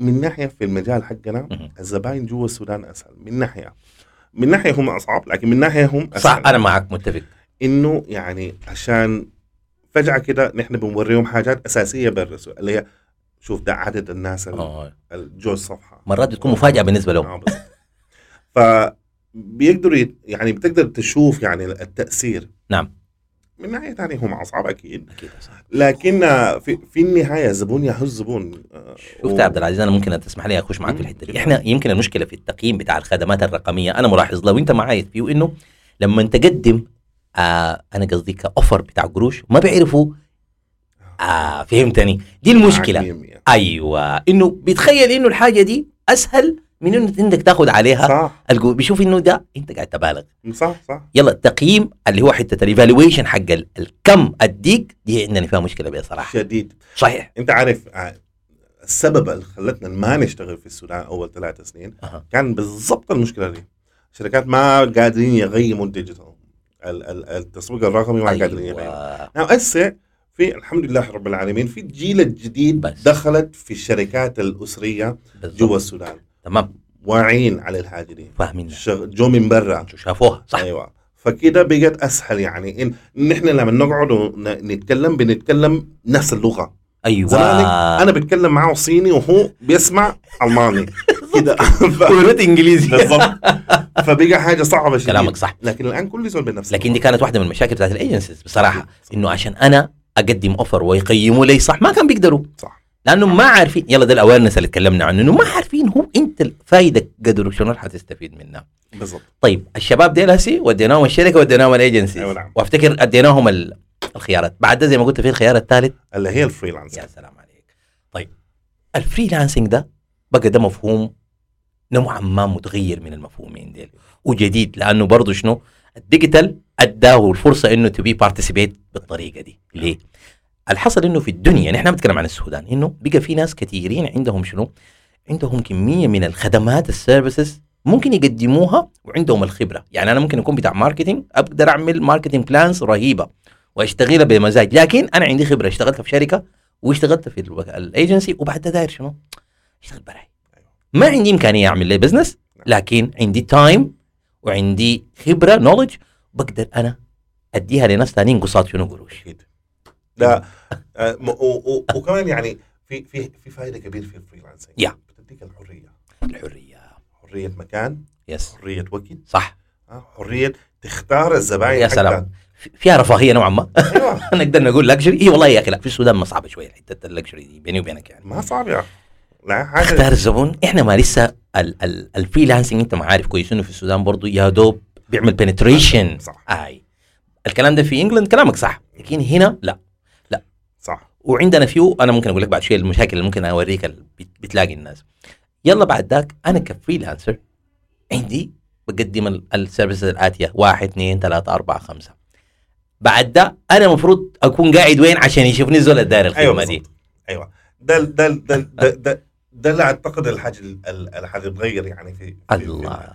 Speaker 1: من ناحيه في المجال حقنا
Speaker 2: مهم.
Speaker 1: الزباين جوا السودان اسهل من ناحيه من ناحيه هم اصعب لكن من ناحيه هم اسهل
Speaker 2: صح انا معك متفق
Speaker 1: انه يعني عشان فجاه كده نحن بنوريهم حاجات اساسيه بالرسول اللي هي شوف ده عدد الناس ال-
Speaker 2: آه.
Speaker 1: الجو الصفحه
Speaker 2: مرات بتكون مفاجاه بالنسبه لهم
Speaker 1: آه بالظبط. ف بيقدروا يت... يعني بتقدر تشوف يعني التاثير
Speaker 2: نعم.
Speaker 1: من ناحيه ثانيه هم اصعب اكيد
Speaker 2: اكيد صح.
Speaker 1: لكن في, في النهايه الزبون يا هو الزبون آه،
Speaker 2: شفت يا عبد العزيز انا ممكن تسمح لي اخش معك في الحته دي احنا يمكن المشكله في التقييم بتاع الخدمات الرقميه انا ملاحظ لو انت معايا فيه انه لما تقدم آه انا قصدي كاوفر بتاع قروش ما بيعرفوا آه فهمتني دي المشكله
Speaker 1: معاك مية مية.
Speaker 2: ايوه انه بيتخيل انه الحاجه دي اسهل من انه انك تاخد عليها
Speaker 1: صح
Speaker 2: الجو- بيشوف انه ده انت قاعد تبالغ
Speaker 1: صح صح
Speaker 2: يلا التقييم اللي هو حته الايفالويشن حق ال- الكم اديك دي عندنا فيها مشكله بها صراحه
Speaker 1: شديد
Speaker 2: صحيح
Speaker 1: انت عارف آه، السبب اللي خلتنا ما نشتغل في السودان اول ثلاث سنين
Speaker 2: أها.
Speaker 1: كان بالضبط المشكله دي الشركات ما قادرين يغيموا الديجيتال ال- ال- التسويق الرقمي ما قادرين يغيموا
Speaker 2: أيوة.
Speaker 1: نعم هسه في الحمد لله رب العالمين في الجيل الجديد
Speaker 2: بس.
Speaker 1: دخلت في الشركات الاسريه
Speaker 2: بالضبط.
Speaker 1: جوا السودان
Speaker 2: تمام
Speaker 1: واعيين على الحاجه دي
Speaker 2: فاهمين
Speaker 1: شغ- جو من برا
Speaker 2: شافوها صح
Speaker 1: ايوه فكده بقت اسهل يعني ان نحن لما نقعد ون- نتكلم بنتكلم نفس اللغه
Speaker 2: ايوه
Speaker 1: زمانك انا بتكلم معه صيني وهو بيسمع
Speaker 2: (laughs)
Speaker 1: الماني كده (laughs) ف-
Speaker 2: ولغتي انجليزي
Speaker 1: بالظبط فبقى حاجه صعبه شديد
Speaker 2: كلامك صح.
Speaker 1: لكن الان كل زول بنفسه
Speaker 2: لكن دي كانت واحده من المشاكل بتاعت الايجنسيز بصراحه انه عشان انا اقدم اوفر ويقيموا لي صح ما كان بيقدروا
Speaker 1: صح.
Speaker 2: لانه ما عارفين يلا ده الاويرنس اللي اتكلمنا عنه انه ما عارفين هو انت الفائده قدر شنو حتستفيد منها
Speaker 1: بالظبط
Speaker 2: طيب الشباب ديل هسي وديناهم الشركه وديناهم الايجنسيز
Speaker 1: أيوة نعم.
Speaker 2: وافتكر اديناهم ال- الخيارات بعد ده زي ما قلت في الخيار الثالث
Speaker 1: اللي هي الفريلانس
Speaker 2: يا سلام عليك طيب الفريلانسنج ده بقى ده مفهوم نوعا ما متغير من المفهومين ديل وجديد لانه برضه شنو الديجيتال اداه الفرصه انه تبي بارتيسيبيت بالطريقه دي ليه الحصل انه في الدنيا نحن بنتكلم عن السودان انه بقى في ناس كثيرين عندهم شنو عندهم كميه من الخدمات السيرفيسز ممكن يقدموها وعندهم الخبره يعني انا ممكن اكون بتاع ماركتينج اقدر اعمل ماركتينج بلانز رهيبه واشتغلها بمزاج لكن انا عندي خبره اشتغلت في شركه واشتغلت في الوك- الايجنسي وبعد ده داير شنو؟ اشتغل براي ما عندي امكانيه اعمل لي بزنس لكن عندي تايم وعندي خبره نولج بقدر انا اديها لناس ثانيين قصاد شنو قروش
Speaker 1: اكيد ده آه، م- و- و- وكمان يعني في في في فائده كبيره في الفريلانس
Speaker 2: يا.
Speaker 1: بتديك الحريه
Speaker 2: الحريه
Speaker 1: حريه مكان
Speaker 2: يس
Speaker 1: حريه وقت
Speaker 2: صح
Speaker 1: آه، حريه تختار الزباين
Speaker 2: يا
Speaker 1: حقك.
Speaker 2: سلام في- فيها رفاهيه نوعا ما (laughs)
Speaker 1: ايوه
Speaker 2: نقدر نقول لكجري اي والله يا اخي لا في السودان ما صعبه شويه حته اللكجري دي بيني وبينك يعني
Speaker 1: ما صعب يا أخي. لا حاجه
Speaker 2: اختار الزبون احنا ما لسه ال- ال- الفريلانسنج انت ما عارف كويس انه في السودان برضو يا دوب بيعمل بنتريشن
Speaker 1: صح
Speaker 2: اي الكلام ده في انجلند كلامك صح لكن هنا لا
Speaker 1: صح
Speaker 2: وعندنا فيو انا ممكن اقول لك بعد شويه المشاكل اللي ممكن اوريك اللي بت- بتلاقي الناس يلا بعد ذاك انا كفريلانسر عندي بقدم ال- السيرفيسز الاتيه واحد اثنين ثلاثه اربعه خمسه بعد ده انا المفروض اكون قاعد وين عشان يشوفني الزول الداير
Speaker 1: ايوه
Speaker 2: الخدمه دي
Speaker 1: بالظبط ايوه ده ده ده ده ده, ده اللي اعتقد الحاجه اللي حتتغير يعني في في-
Speaker 2: الله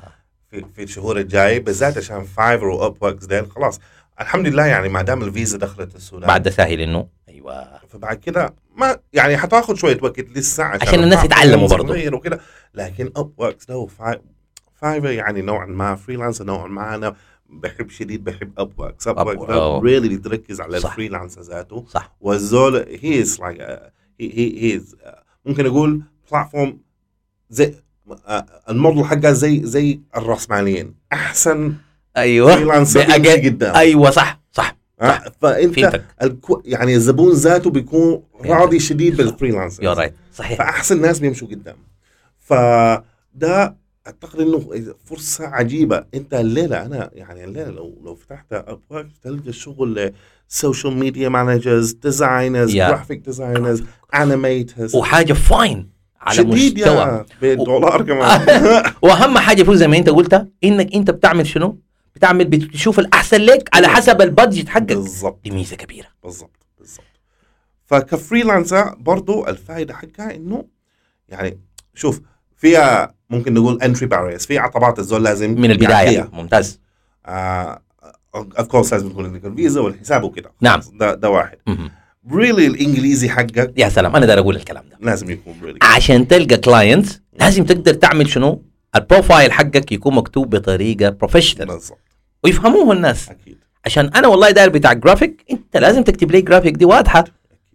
Speaker 1: في, في الشهور الجاي بالذات عشان فايفر واب وركس ديل خلاص الحمد لله يعني ما دام الفيزا دخلت السودان
Speaker 2: بعد ده سهل انه ايوه
Speaker 1: فبعد كده ما يعني حتاخد شويه وقت لسه عشان,
Speaker 2: عشان الناس يتعلموا برضو.
Speaker 1: برضه وكده لكن اب وركس ده وفاي- فايفر يعني نوعا ما فريلانس نوعا ما انا بحب شديد بحب اب وركس اب
Speaker 2: Upwork،
Speaker 1: وركس
Speaker 2: آه.
Speaker 1: ده ريلي بتركز على
Speaker 2: صح.
Speaker 1: الفريلانس ذاته
Speaker 2: صح
Speaker 1: والزول هي از لايك هي از آه، ممكن اقول بلاتفورم زي آه، الموضوع حقه زي زي الراسماليين احسن
Speaker 2: ايوه
Speaker 1: أيوة. فريلانسر
Speaker 2: بأجل-
Speaker 1: جدا
Speaker 2: ايوه صح صح
Speaker 1: آه، فانت
Speaker 2: فهمتك
Speaker 1: الكو يعني الزبون ذاته بيكون راضي شديد
Speaker 2: صح.
Speaker 1: بالفريلانسر
Speaker 2: يو رايت صحيح
Speaker 1: فاحسن ناس بيمشوا قدام فده اعتقد انه فرصه عجيبه انت الليله انا يعني الليله لو لو فتحت ابواب تلقى شغل سوشيال ميديا مانجرز ديزاينرز
Speaker 2: يا.
Speaker 1: جرافيك ديزاينرز انيميترز
Speaker 2: وحاجه فاين على مستوى
Speaker 1: يا بالدولار
Speaker 2: (laughs)
Speaker 1: كمان
Speaker 2: واهم حاجه فوز زي ما انت قلتها انك انت بتعمل شنو؟ بتعمل بتشوف الاحسن لك على حسب البادجت حقك
Speaker 1: بالضبط
Speaker 2: دي ميزه كبيره
Speaker 1: بالضبط بالضبط فكفريلانسر برضو الفائده حقها انه يعني شوف في- فيها ممكن نقول انتري باريس في عقبات الزول لازم
Speaker 2: من البدايه
Speaker 1: يعديها.
Speaker 2: ممتاز
Speaker 1: اوف كورس لازم يكون عندك الفيزا والحساب وكده
Speaker 2: نعم.
Speaker 1: ده, ده واحد
Speaker 2: مهم.
Speaker 1: ريلي الانجليزي حقك
Speaker 2: يا سلام انا داير اقول الكلام ده
Speaker 1: لازم يكون ريلي
Speaker 2: عشان تلقى كلاينت لازم تقدر تعمل شنو البروفايل حقك يكون مكتوب بطريقه بروفيشنال
Speaker 1: بالضبط
Speaker 2: ويفهموه الناس
Speaker 1: اكيد
Speaker 2: عشان انا والله داير بتاع جرافيك انت لازم تكتب لي جرافيك دي واضحه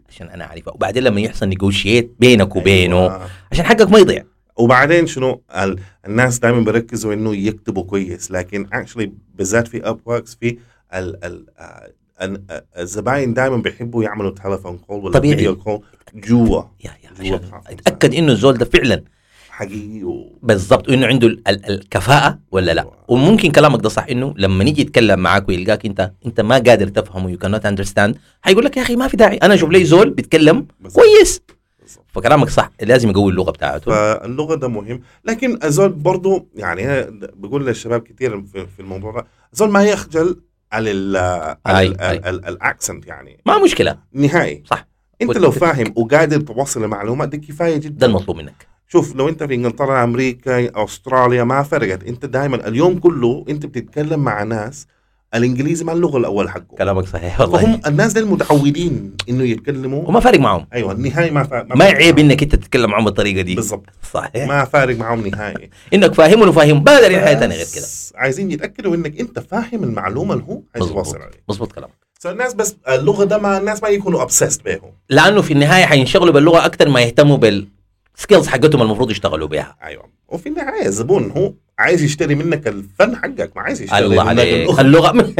Speaker 2: عشان انا اعرفها وبعدين لما يحصل نيجوشيت بينك وبينه
Speaker 1: أيوة.
Speaker 2: عشان حقك ما يضيع
Speaker 1: وبعدين شنو ال- الناس دائما بيركزوا انه يكتبوا كويس لكن اكشلي بالذات في اب وركس في ال ال آه، ال- آه، الزباين دائما بيحبوا يعملوا تليفون كول ولا
Speaker 2: طبيعي.
Speaker 1: فيديو كول جوا
Speaker 2: يا يا
Speaker 1: جوا
Speaker 2: عشان
Speaker 1: بتاع
Speaker 2: اتاكد انه الزول ده فعلا
Speaker 1: حقيقي و...
Speaker 2: بالضبط انه عنده ال- ال- الكفاءه ولا لا وممكن كلامك ده صح انه لما نيجي يتكلم معاك ويلقاك انت انت ما قادر تفهمه يو كانوت اندرستاند حيقول لك يا اخي ما في داعي انا اشوف لي زول بيتكلم
Speaker 1: بالظبط.
Speaker 2: كويس
Speaker 1: بالظبط.
Speaker 2: فكلامك صح لازم يقوي اللغه بتاعته
Speaker 1: فاللغه ده مهم لكن الزول برضو يعني أنا بقول للشباب كثير في, في الموضوع ده الزول ما يخجل على ال
Speaker 2: أي،
Speaker 1: ال-
Speaker 2: أي.
Speaker 1: ال- ال- الاكسنت يعني
Speaker 2: ما مشكله
Speaker 1: نهائي
Speaker 2: صح.
Speaker 1: انت لو فاهم وقادر توصل المعلومات دي كفايه
Speaker 2: ده
Speaker 1: جدا
Speaker 2: المطلوب منك
Speaker 1: شوف لو انت في انجلترا امريكا استراليا ما فرقت انت دائما اليوم كله انت بتتكلم مع ناس الانجليزي ما اللغه الاول حقه
Speaker 2: كلامك صحيح والله
Speaker 1: فهم الناس دي المتعودين انه يتكلموا
Speaker 2: وما فارق معهم
Speaker 1: ايوه النهائي ما فارق
Speaker 2: ما عيب انك انت تتكلم معهم بالطريقه دي
Speaker 1: بالضبط
Speaker 2: صحيح
Speaker 1: ما فارق معهم نهائي
Speaker 2: (laughs) انك فاهمه وفاهم ما داري حياه ثانيه غير كده
Speaker 1: بس عايزين يتاكدوا انك انت فاهم المعلومه اللي هو عايز
Speaker 2: مظبوط.
Speaker 1: يواصل عليك
Speaker 2: مظبوط كلامك
Speaker 1: So الناس بس اللغه ده ما الناس ما يكونوا obsessed بيهم
Speaker 2: لانه في النهايه حينشغلوا باللغه اكثر ما يهتموا بالسكيلز حقتهم المفروض يشتغلوا بيها
Speaker 1: ايوه وفي النهايه الزبون هو عايز يشتري منك الفن حقك ما عايز يشتري
Speaker 2: الله
Speaker 1: منك
Speaker 2: عليك
Speaker 1: اللغه
Speaker 2: اللغه (laughs)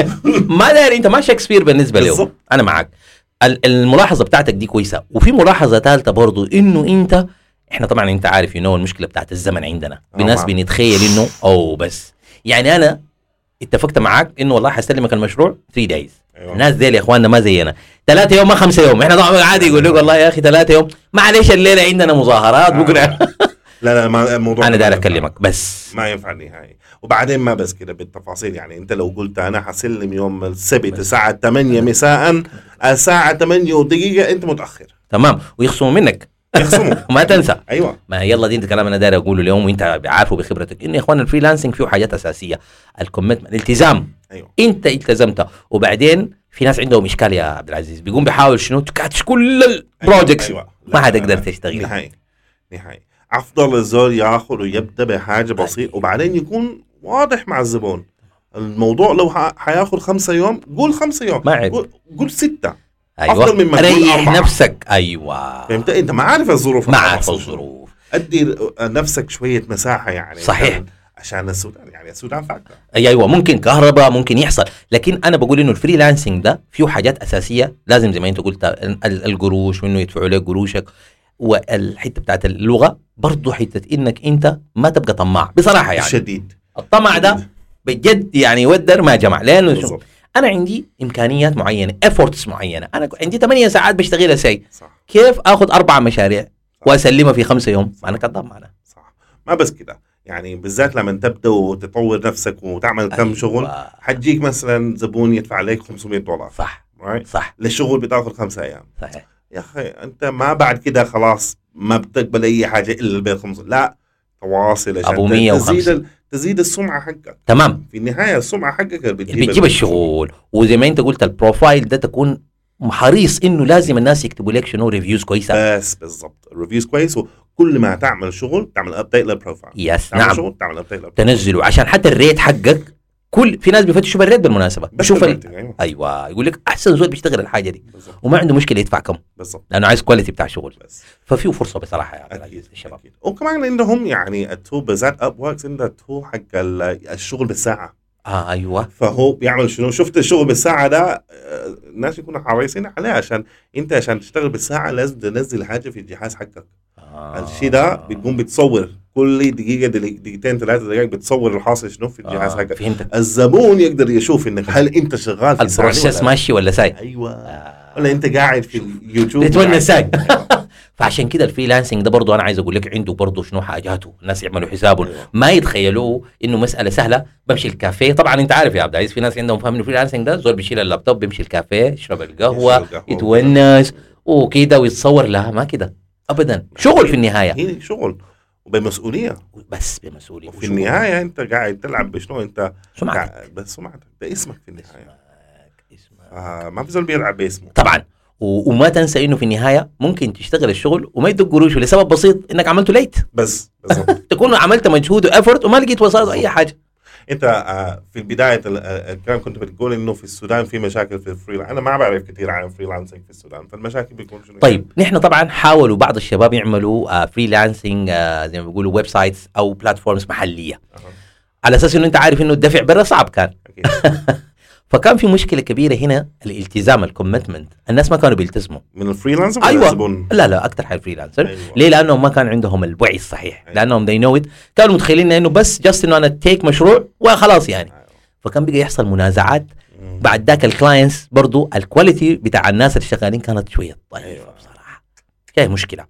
Speaker 2: ما داري انت ما شكسبير بالنسبه له
Speaker 1: بالظبط.
Speaker 2: انا معك ال- الملاحظه بتاعتك دي كويسه وفي ملاحظه ثالثه برضو انه انت احنا طبعا انت عارف يو نو المشكله بتاعت الزمن عندنا
Speaker 1: آه،
Speaker 2: بناس
Speaker 1: معك.
Speaker 2: بنتخيل انه او بس يعني انا اتفقت معاك انه والله حستلمك المشروع 3 دايز
Speaker 1: أيوة.
Speaker 2: الناس ديل يا اخواننا ما زينا ثلاثة يوم ما خمسة يوم احنا طبعا عادي يقول لك والله يا اخي ثلاثة يوم معلش الليله عندنا مظاهرات
Speaker 1: آه.
Speaker 2: بكره
Speaker 1: لا لا ما الموضوع
Speaker 2: انا
Speaker 1: ما
Speaker 2: داير
Speaker 1: ينفع.
Speaker 2: اكلمك بس
Speaker 1: ما ينفع نهائي وبعدين ما بس كده بالتفاصيل يعني انت لو قلت انا حسلم يوم السبت الساعه 8 مساء الساعه 8 ودقيقه انت متاخر
Speaker 2: تمام ويخصموا منك (laughs)
Speaker 1: يخصموا
Speaker 2: وما تنسى
Speaker 1: ايوه
Speaker 2: ما يلا دي انت كلام انا داير اقوله اليوم وانت عارفه بخبرتك انه يا اخوان الفريلانسنج فيه حاجات اساسيه الكوميتمنت الالتزام
Speaker 1: ايوه
Speaker 2: انت التزمت وبعدين في ناس عندهم اشكال يا عبد العزيز بيقوم بيحاول شنو تكاتش كل البروجكتس
Speaker 1: أيوة.
Speaker 2: ما
Speaker 1: لا،
Speaker 2: حتقدر
Speaker 1: لا، لا.
Speaker 2: تشتغل.
Speaker 1: نهائي نهائي افضل الزول ياخذ ويبدا بحاجه بسيطه وبعدين يكون واضح مع الزبون الموضوع لو ح- حياخد خمسة يوم قول خمسة يوم
Speaker 2: ما عيب.
Speaker 1: قول, قول ستة أفضل من
Speaker 2: ايوه
Speaker 1: مجهود
Speaker 2: ريح
Speaker 1: أربعة.
Speaker 2: نفسك ايوه
Speaker 1: فهمت انت ما عارف الظروف
Speaker 2: ما
Speaker 1: أصلاً.
Speaker 2: عارف الظروف
Speaker 1: ادي نفسك شوية مساحة يعني
Speaker 2: صحيح.
Speaker 1: عشان- عشان السودان يعني السودان فاكرة
Speaker 2: أي ايوه ممكن كهرباء ممكن يحصل لكن انا بقول انه الفريلانسنج ده فيه حاجات اساسيه لازم زي ما انت قلت ال- ال- القروش وانه يدفعوا لك قروشك والحته بتاعت اللغه برضه حته انك انت ما تبقى طماع بصراحه يعني
Speaker 1: شديد
Speaker 2: الطمع ده بجد يعني ودر ما جمع لانه شوف
Speaker 1: بالظبط
Speaker 2: انا عندي امكانيات معينه افورتس معينه انا عندي 8 ساعات بشتغلها سي
Speaker 1: صح
Speaker 2: كيف اخذ اربع مشاريع واسلمها في خمسة يوم انا كذاب معنا
Speaker 1: صح ما بس كده يعني بالذات لما تبدا وتطور نفسك وتعمل
Speaker 2: أيوة.
Speaker 1: كم شغل حتجيك مثلا زبون يدفع عليك 500 دولار
Speaker 2: صح
Speaker 1: right?
Speaker 2: صح
Speaker 1: للشغل بتاخذ خمسة ايام
Speaker 2: صحيح
Speaker 1: يا اخي انت ما بعد كده خلاص ما بتقبل اي حاجه الا البيت خمسة لا تواصل عشان
Speaker 2: أبو
Speaker 1: ت-
Speaker 2: 105.
Speaker 1: تزيد ال- تزيد السمعه حقك
Speaker 2: تمام
Speaker 1: في النهايه السمعه حقك اللي
Speaker 2: اللي بتجيب الشغل وزي ما انت قلت البروفايل ده تكون حريص انه لازم الناس يكتبوا لك شنو ريفيوز كويسه
Speaker 1: بس بالضبط الريفيوز كويس وكل ما تعمل شغل تعمل ابديت للبروفايل
Speaker 2: يس
Speaker 1: تعمل
Speaker 2: نعم
Speaker 1: شغل تعمل ابديت للبروفايل
Speaker 2: تنزله عشان حتى الريت حقك كل في ناس بيفتشوا بالريت بالمناسبه
Speaker 1: بس
Speaker 2: بشوف ال...
Speaker 1: الماركتينج، ايوه
Speaker 2: ايوه يقول لك احسن زول بيشتغل الحاجه دي
Speaker 1: بالضبط
Speaker 2: وما عنده مشكله يدفع كم
Speaker 1: بالضبط
Speaker 2: لانه عايز كواليتي بتاع شغل
Speaker 1: بس
Speaker 2: ففيه فرصه بصراحه يا عبد العزيز
Speaker 1: اكيد
Speaker 2: للشباب
Speaker 1: أكيد. وكمان عندهم يعني التول بالذات اب وركس عندها التول حق ال- الشغل بالساعه
Speaker 2: اه ايوه
Speaker 1: فهو بيعمل شنو شفت الشغل بالساعه ده آه، الناس يكونوا حريصين عليه عشان انت عشان تشتغل بالساعه لازم تنزل حاجه في الجهاز حقك
Speaker 2: آه.
Speaker 1: آه. الشيء ده بتقوم بتصور كل دقيقه دل- دقيقتين ثلاثه دقائق بتصور الحاصل شنو في الجهاز
Speaker 2: آه.
Speaker 1: حقك
Speaker 2: فهمتك
Speaker 1: الزبون يقدر يشوف انك هل انت شغال في الساعة دي
Speaker 2: البروسيس
Speaker 1: ولا-
Speaker 2: ماشي ولا ساي
Speaker 1: ايوه
Speaker 2: آه.
Speaker 1: ولا انت قاعد في اليوتيوب
Speaker 2: بتتونس ساي
Speaker 1: قاعد-
Speaker 2: فعشان كده الفريلانسنج ده برضه انا عايز اقول لك عنده برضه شنو حاجاته الناس يعملوا حسابه
Speaker 1: أيوة.
Speaker 2: ما يتخيلوه انه مساله سهله بمشي الكافيه طبعا انت عارف يا عبد العزيز في ناس عندهم فهم الفريلانسنج ده زول بيشيل اللابتوب بيمشي الكافيه يشرب (laughs) القهوه
Speaker 1: يشرب القهوة.
Speaker 2: يتونس وكده ويتصور لها ما كده ابدا شغل في النهايه
Speaker 1: هي شغل وبمسؤوليه
Speaker 2: بس بمسؤوليه
Speaker 1: وفي النهايه انت قاعد تلعب بشنو انت
Speaker 2: سمعتك
Speaker 1: قاعد- بس سمعتك ده اسمك في النهايه
Speaker 2: اسمك اسمك
Speaker 1: آه ما في زول بيلعب باسمه
Speaker 2: طبعا و- وما تنسى انه في النهايه ممكن تشتغل الشغل وما يدوك قروش لسبب بسيط انك عملته ليت
Speaker 1: بس بالظبط
Speaker 2: تكون عملت مجهود وافورت وما لقيت وسائط اي حاجه
Speaker 1: انت آه في بدايه ال- آه، الكلام كنت بتقول انه في السودان في مشاكل في الفريلانس انا ما بعرف كثير عن الفريلانسنج في السودان فالمشاكل بيكون شنو
Speaker 2: طيب نحن طبعا حاولوا بعض الشباب يعملوا آه فريلانسنج آه زي ما بيقولوا ويب سايتس او بلاتفورمز محليه
Speaker 1: أها،
Speaker 2: على اساس انه انت عارف انه الدفع برا صعب كان
Speaker 1: أكيد.
Speaker 2: فكان في مشكله كبيره هنا الالتزام الكوميتمنت الناس ما كانوا بيلتزموا
Speaker 1: من الفريلانس
Speaker 2: (laughs)
Speaker 1: ولا
Speaker 2: أيوة.
Speaker 1: الزبون؟
Speaker 2: لا لا اكثر حاجه فريلانسر
Speaker 1: أيوة.
Speaker 2: ليه لانهم ما كان عندهم الوعي الصحيح
Speaker 1: أيوة.
Speaker 2: لانهم they know it كانوا متخيلين انه بس جاست انه انا تيك مشروع وخلاص يعني فكان بقى يحصل منازعات
Speaker 1: مم.
Speaker 2: بعد ذاك الكلاينتس برضو الكواليتي بتاع الناس اللي شغالين كانت شويه ضعيفه
Speaker 1: أيوة.
Speaker 2: بصراحه هي مشكله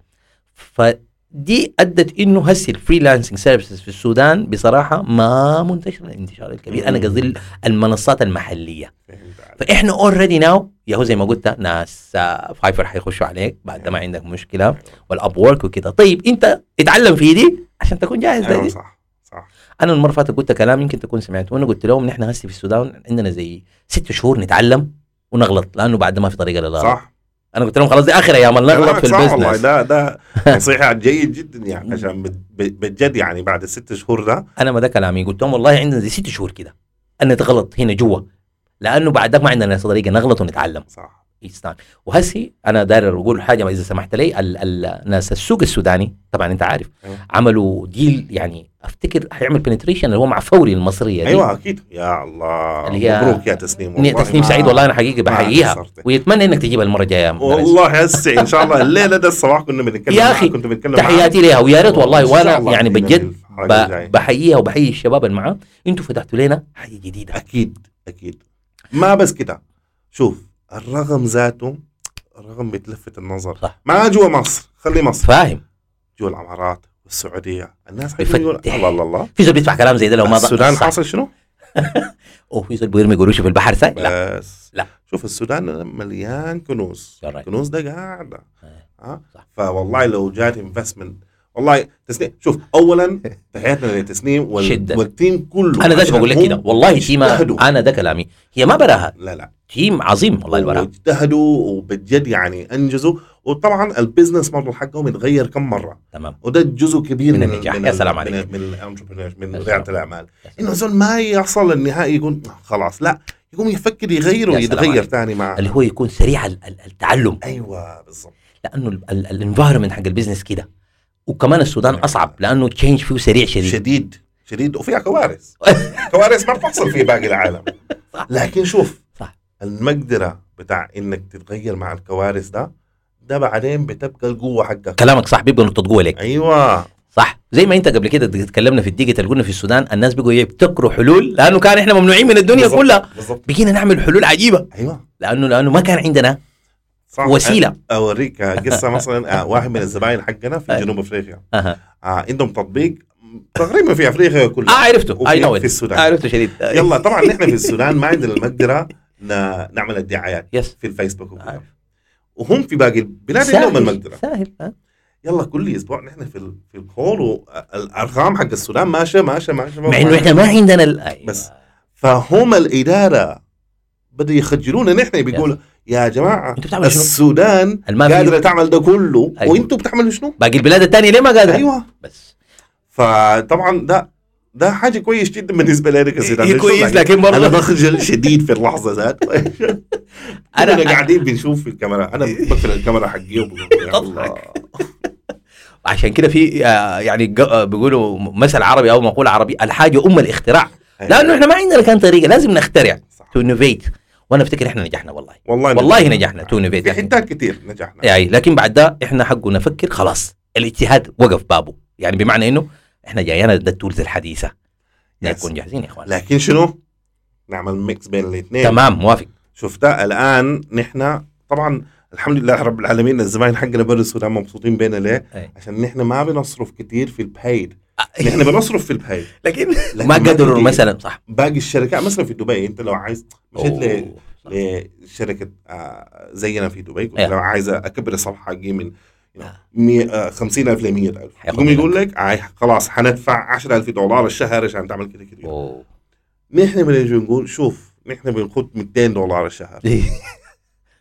Speaker 2: فدي ادت انه هسه الفريلانسنج سيرفيسز في السودان بصراحه ما منتشره الانتشار الكبير انا
Speaker 1: مم.
Speaker 2: قصدي المنصات المحليه
Speaker 1: فهمت عليك.
Speaker 2: فاحنا اوريدي ناو ياهو زي ما قلت ناس آه، فايفر حيخشوا عليك بعد ما عندك مشكله والاب ورك وكده طيب انت اتعلم في دي عشان تكون جاهز
Speaker 1: ايوه
Speaker 2: لدي
Speaker 1: صح صح
Speaker 2: انا المره اللي فاتت قلت كلام يمكن تكون سمعته وانا قلت لهم نحن هسه في السودان عندنا زي ست شهور نتعلم ونغلط لانه بعد ما في طريقه للغلط
Speaker 1: صح
Speaker 2: انا قلت لهم خلاص دي اخر ايام نغلط
Speaker 1: كلامك
Speaker 2: في
Speaker 1: صح والله
Speaker 2: البزنس
Speaker 1: ده ده نصيحه جيد جدا يعني عشان بت- بت- بجد يعني بعد الست شهور ده
Speaker 2: انا ما ده كلامي قلت لهم والله عندنا زي ست شهور كده انا نتغلط هنا جوا لانه بعدك ما عندنا طريقه نغلط ونتعلم
Speaker 1: صح
Speaker 2: اتس تايم وهسي انا داير اقول حاجه اذا سمحت لي ال- ال- الناس السوق السوداني طبعا انت عارف
Speaker 1: أيوة.
Speaker 2: عملوا ديل يعني افتكر حيعمل بنتريشن اللي هو مع فوري المصريه دي
Speaker 1: ايوه اكيد يا الله
Speaker 2: اللي هي-
Speaker 1: مبروك يا تسنيم
Speaker 2: إني تسنيم
Speaker 1: ما-
Speaker 2: سعيد والله انا حقيقي
Speaker 1: ما
Speaker 2: بحييها
Speaker 1: قصرت.
Speaker 2: ويتمنى انك تجيبها المره الجايه مدرس.
Speaker 1: والله هسه ان شاء الله الليله ده الصباح كنا بنتكلم
Speaker 2: يا
Speaker 1: معاك،
Speaker 2: أخي،
Speaker 1: كنت بنتكلم
Speaker 2: تحياتي لها ويا ريت والله
Speaker 1: إن شاء الله
Speaker 2: وانا يعني
Speaker 1: بإذن
Speaker 2: بجد
Speaker 1: الله الحلقة الجاية.
Speaker 2: ب- بحييها وبحيي الشباب اللي معاه انتوا فتحتوا لنا حاجه جديده
Speaker 1: اكيد اكيد ما بس كده شوف الرقم ذاته الرقم بيتلفت النظر
Speaker 2: صح.
Speaker 1: ما جوا مصر خلي مصر
Speaker 2: فاهم
Speaker 1: جوا الامارات والسعوديه الناس
Speaker 2: بيفتح.
Speaker 1: حيجوا يقول الله الله الله
Speaker 2: في زول بيدفع كلام زي ده لو ما ض-
Speaker 1: السودان
Speaker 2: صح.
Speaker 1: حاصل شنو؟
Speaker 2: اوه في زول بيرمي قروشه في البحر ساي لا
Speaker 1: بس
Speaker 2: لا.
Speaker 1: شوف السودان مليان كنوز
Speaker 2: You're right.
Speaker 1: الكنوز ده قاعده
Speaker 2: إيه.
Speaker 1: ها
Speaker 2: صح.
Speaker 1: فوالله لو جات انفستمنت والله تسنيم شوف اولا تحياتنا لتسنيم وال...
Speaker 2: شداً.
Speaker 1: والتيم كله
Speaker 2: انا ده
Speaker 1: عشان
Speaker 2: بقول لك
Speaker 1: هم
Speaker 2: كده والله تيما
Speaker 1: اجتهدوا.
Speaker 2: انا ده كلامي هي ما براها
Speaker 1: لا لا
Speaker 2: تيم عظيم والله البراء
Speaker 1: واجتهدوا وبجد يعني انجزوا وطبعا البزنس موديل حقهم يتغير كم مره
Speaker 2: تمام
Speaker 1: وده جزء كبير
Speaker 2: من النجاح. يا سلام
Speaker 1: ال-
Speaker 2: عليك.
Speaker 1: من الانتربرينور من
Speaker 2: يا
Speaker 1: رياده
Speaker 2: سلام.
Speaker 1: الاعمال انه زول ما يحصل للنهائي يقول خلاص لا يقوم يفكر يغير
Speaker 2: يا سلام
Speaker 1: ويتغير
Speaker 2: عليك.
Speaker 1: ثاني مع
Speaker 2: اللي هو يكون سريع ال- ال- التعلم
Speaker 1: ايوه بالضبط
Speaker 2: لانه الانفايرمنت حق البزنس كده وكمان السودان اصعب لانه تشينج فيه سريع شديد
Speaker 1: أيوه. شديد شديد وفيها
Speaker 2: (laughs)
Speaker 1: كوارث كوارث ما بتحصل في باقي العالم لكن شوف
Speaker 2: صح.
Speaker 1: المقدره بتاع انك تتغير مع الكوارث ده ده بعدين بتبقى القوه حقك
Speaker 2: كلامك صح بيبقى نقطه قوه لك
Speaker 1: ايوه
Speaker 2: صح زي ما انت قبل كده تكلمنا في الديجيتال قلنا في السودان الناس بقوا يبتكروا حلول لانه كان احنا ممنوعين من الدنيا
Speaker 1: بالظبط،
Speaker 2: كلها
Speaker 1: بالظبط
Speaker 2: بقينا نعمل حلول عجيبه
Speaker 1: ايوه
Speaker 2: لانه لانه ما كان عندنا
Speaker 1: صح أيوة.
Speaker 2: وسيلة.
Speaker 1: أ- اوريك
Speaker 2: (laughs)
Speaker 1: قصه مثلا آه، واحد من الزباين حقنا في
Speaker 2: أي.
Speaker 1: جنوب افريقيا
Speaker 2: اها
Speaker 1: آه عندهم تطبيق تقريبا في افريقيا
Speaker 2: اه
Speaker 1: كلها
Speaker 2: عرفته اي
Speaker 1: وفي
Speaker 2: نو
Speaker 1: في السودان.
Speaker 2: عرفته شديد أيوة.
Speaker 1: يلا طبعا نحن في السودان ما عندنا المقدره ن- نعمل الدعايات
Speaker 2: يس
Speaker 1: في الفيسبوك وكده.
Speaker 2: عارف.
Speaker 1: وهم في باقي البلاد عندهم
Speaker 2: أيوة. سهل
Speaker 1: المقدره
Speaker 2: سهل آه. ها؟
Speaker 1: يلا كل اسبوع نحن في ال- في الكول والارقام حق السودان ماشيه ماشيه ماشيه
Speaker 2: مع انه احنا ما عندنا ال- أيوة.
Speaker 1: بس. فهم الاداره بدوا يخجلونا نحن بيقولوا يا جماعه
Speaker 2: انتوا بتعملوا شنو؟
Speaker 1: السودان
Speaker 2: الما
Speaker 1: قادره
Speaker 2: في
Speaker 1: تعمل ده كله
Speaker 2: أيوة.
Speaker 1: وانتوا بتعملوا شنو؟
Speaker 2: باقي البلاد الثانيه ليه ما قادره
Speaker 1: ايوه
Speaker 2: بس
Speaker 1: فطبعا ده ده حاجه كويس جدا بالنسبه لي أنا كسودان
Speaker 2: هي إيه، كويس لكن
Speaker 1: انا
Speaker 2: برضه
Speaker 1: بخجل شديد في اللحظه
Speaker 2: (laughs)
Speaker 1: ذات
Speaker 2: أنا-
Speaker 1: انا قاعدين بنشوف في الكاميرا انا بقفل الكاميرا حقي وبقول يا الله.
Speaker 2: (laughs) تضحك. عشان كده في آه، يعني ج- آه، بيقولوا مثل عربي او مقول عربي الحاجه ام الاختراع
Speaker 1: أيوة.
Speaker 2: لانه احنا ما عندنا كان طريقه لازم نخترع
Speaker 1: صح.
Speaker 2: تو انوفيت وانا افتكر احنا نجحنا والله
Speaker 1: والله
Speaker 2: والله نجحنا تو
Speaker 1: في
Speaker 2: انوفيت
Speaker 1: حتات كتير نجحنا
Speaker 2: يعني لكن بعد ده احنا حقه نفكر خلاص الاجتهاد وقف بابه يعني بمعنى انه احنا جايانا ده التولز الحديثه
Speaker 1: يس.
Speaker 2: نكون جاهزين يا اخوان
Speaker 1: لكن شنو؟ نعمل ميكس بين الاثنين
Speaker 2: تمام موافق
Speaker 1: شفتها الان نحن طبعا الحمد لله رب العالمين الزباين حقنا برا السودان مبسوطين بينا ليه؟
Speaker 2: أي.
Speaker 1: عشان نحن ما بنصرف كتير في البايد نحن بنصرف في البايد
Speaker 2: (laughs) لكن
Speaker 1: لكن
Speaker 2: ما قدروا
Speaker 1: كتير.
Speaker 2: مثلا صح
Speaker 1: باقي الشركات مثلا في دبي انت لو عايز مشيت ل-
Speaker 2: أوه.
Speaker 1: لشركه آه، زينا في دبي قلت
Speaker 2: أيوة.
Speaker 1: لو عايز اكبر الصفحه حقي من مية- آه، 50000 ل 100000
Speaker 2: هياخد
Speaker 1: يقوم
Speaker 2: منك.
Speaker 1: يقول لك عاي خلاص حندفع 10000 دولار الشهر عشان تعمل كده كده
Speaker 2: اوه
Speaker 1: (laughs) نحن بنجي نقول شوف نحن بنخد 200 دولار الشهر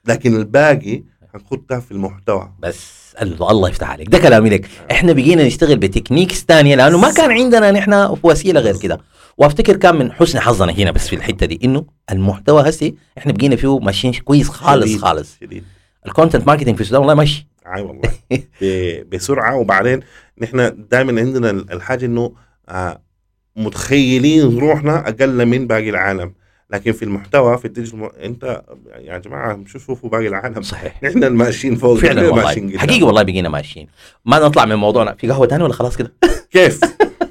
Speaker 1: لكن الباقي هنخدها في المحتوى
Speaker 2: بس الله الله يفتح عليك ده كلامي لك احنا بقينا نشتغل بتكنيكس تانية لانه ما كان عندنا نحن وسيله غير كده وافتكر كان من حسن حظنا هنا بس في الحته دي انه المحتوى هسي احنا بقينا فيه ماشيين كويس خالص
Speaker 1: شديد.
Speaker 2: خالص
Speaker 1: شديد
Speaker 2: الكونتنت ماركتنج في السودان والله ماشي
Speaker 1: اي والله ب- بسرعه وبعدين نحن دائما عندنا ال- الحاجه انه آه، متخيلين روحنا اقل من باقي العالم لكن في المحتوى في الديجيتال مار- انت يا جماعه شو شوفوا باقي العالم (laughs)
Speaker 2: صحيح
Speaker 1: نحن الماشيين فوق
Speaker 2: فعلا
Speaker 1: نحن ماشيين
Speaker 2: والله
Speaker 1: قدام.
Speaker 2: حقيقي والله بقينا ماشيين ما نطلع من موضوعنا في قهوه تانية ولا خلاص كده (laughs)
Speaker 1: كيف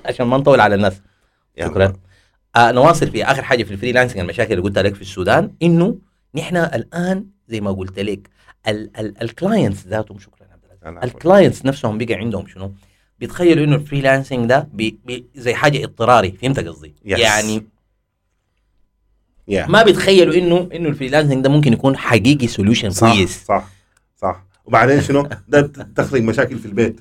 Speaker 2: عشان ما نطول على الناس
Speaker 1: يلا.
Speaker 2: شكرا. آه نواصل في اخر حاجه في الفريلانسنج المشاكل اللي قلتها لك في السودان انه نحن الان زي ما قلت لك الكلاينتس ذاتهم شكرا عبد العزيز
Speaker 1: أنا عفواً.
Speaker 2: الكلاينتس نفسهم بقى عندهم شنو؟ بيتخيلوا انه الفريلانسنج ده بي بي زي حاجه اضطراري فهمت قصدي؟
Speaker 1: Yes.
Speaker 2: يعني
Speaker 1: يا.
Speaker 2: ما بيتخيلوا انه انه الفريلانسنج ده ممكن يكون حقيقي سوليوشن
Speaker 1: صح
Speaker 2: كويس
Speaker 1: صح صح وبعدين شنو ده ت- تخلق مشاكل في البيت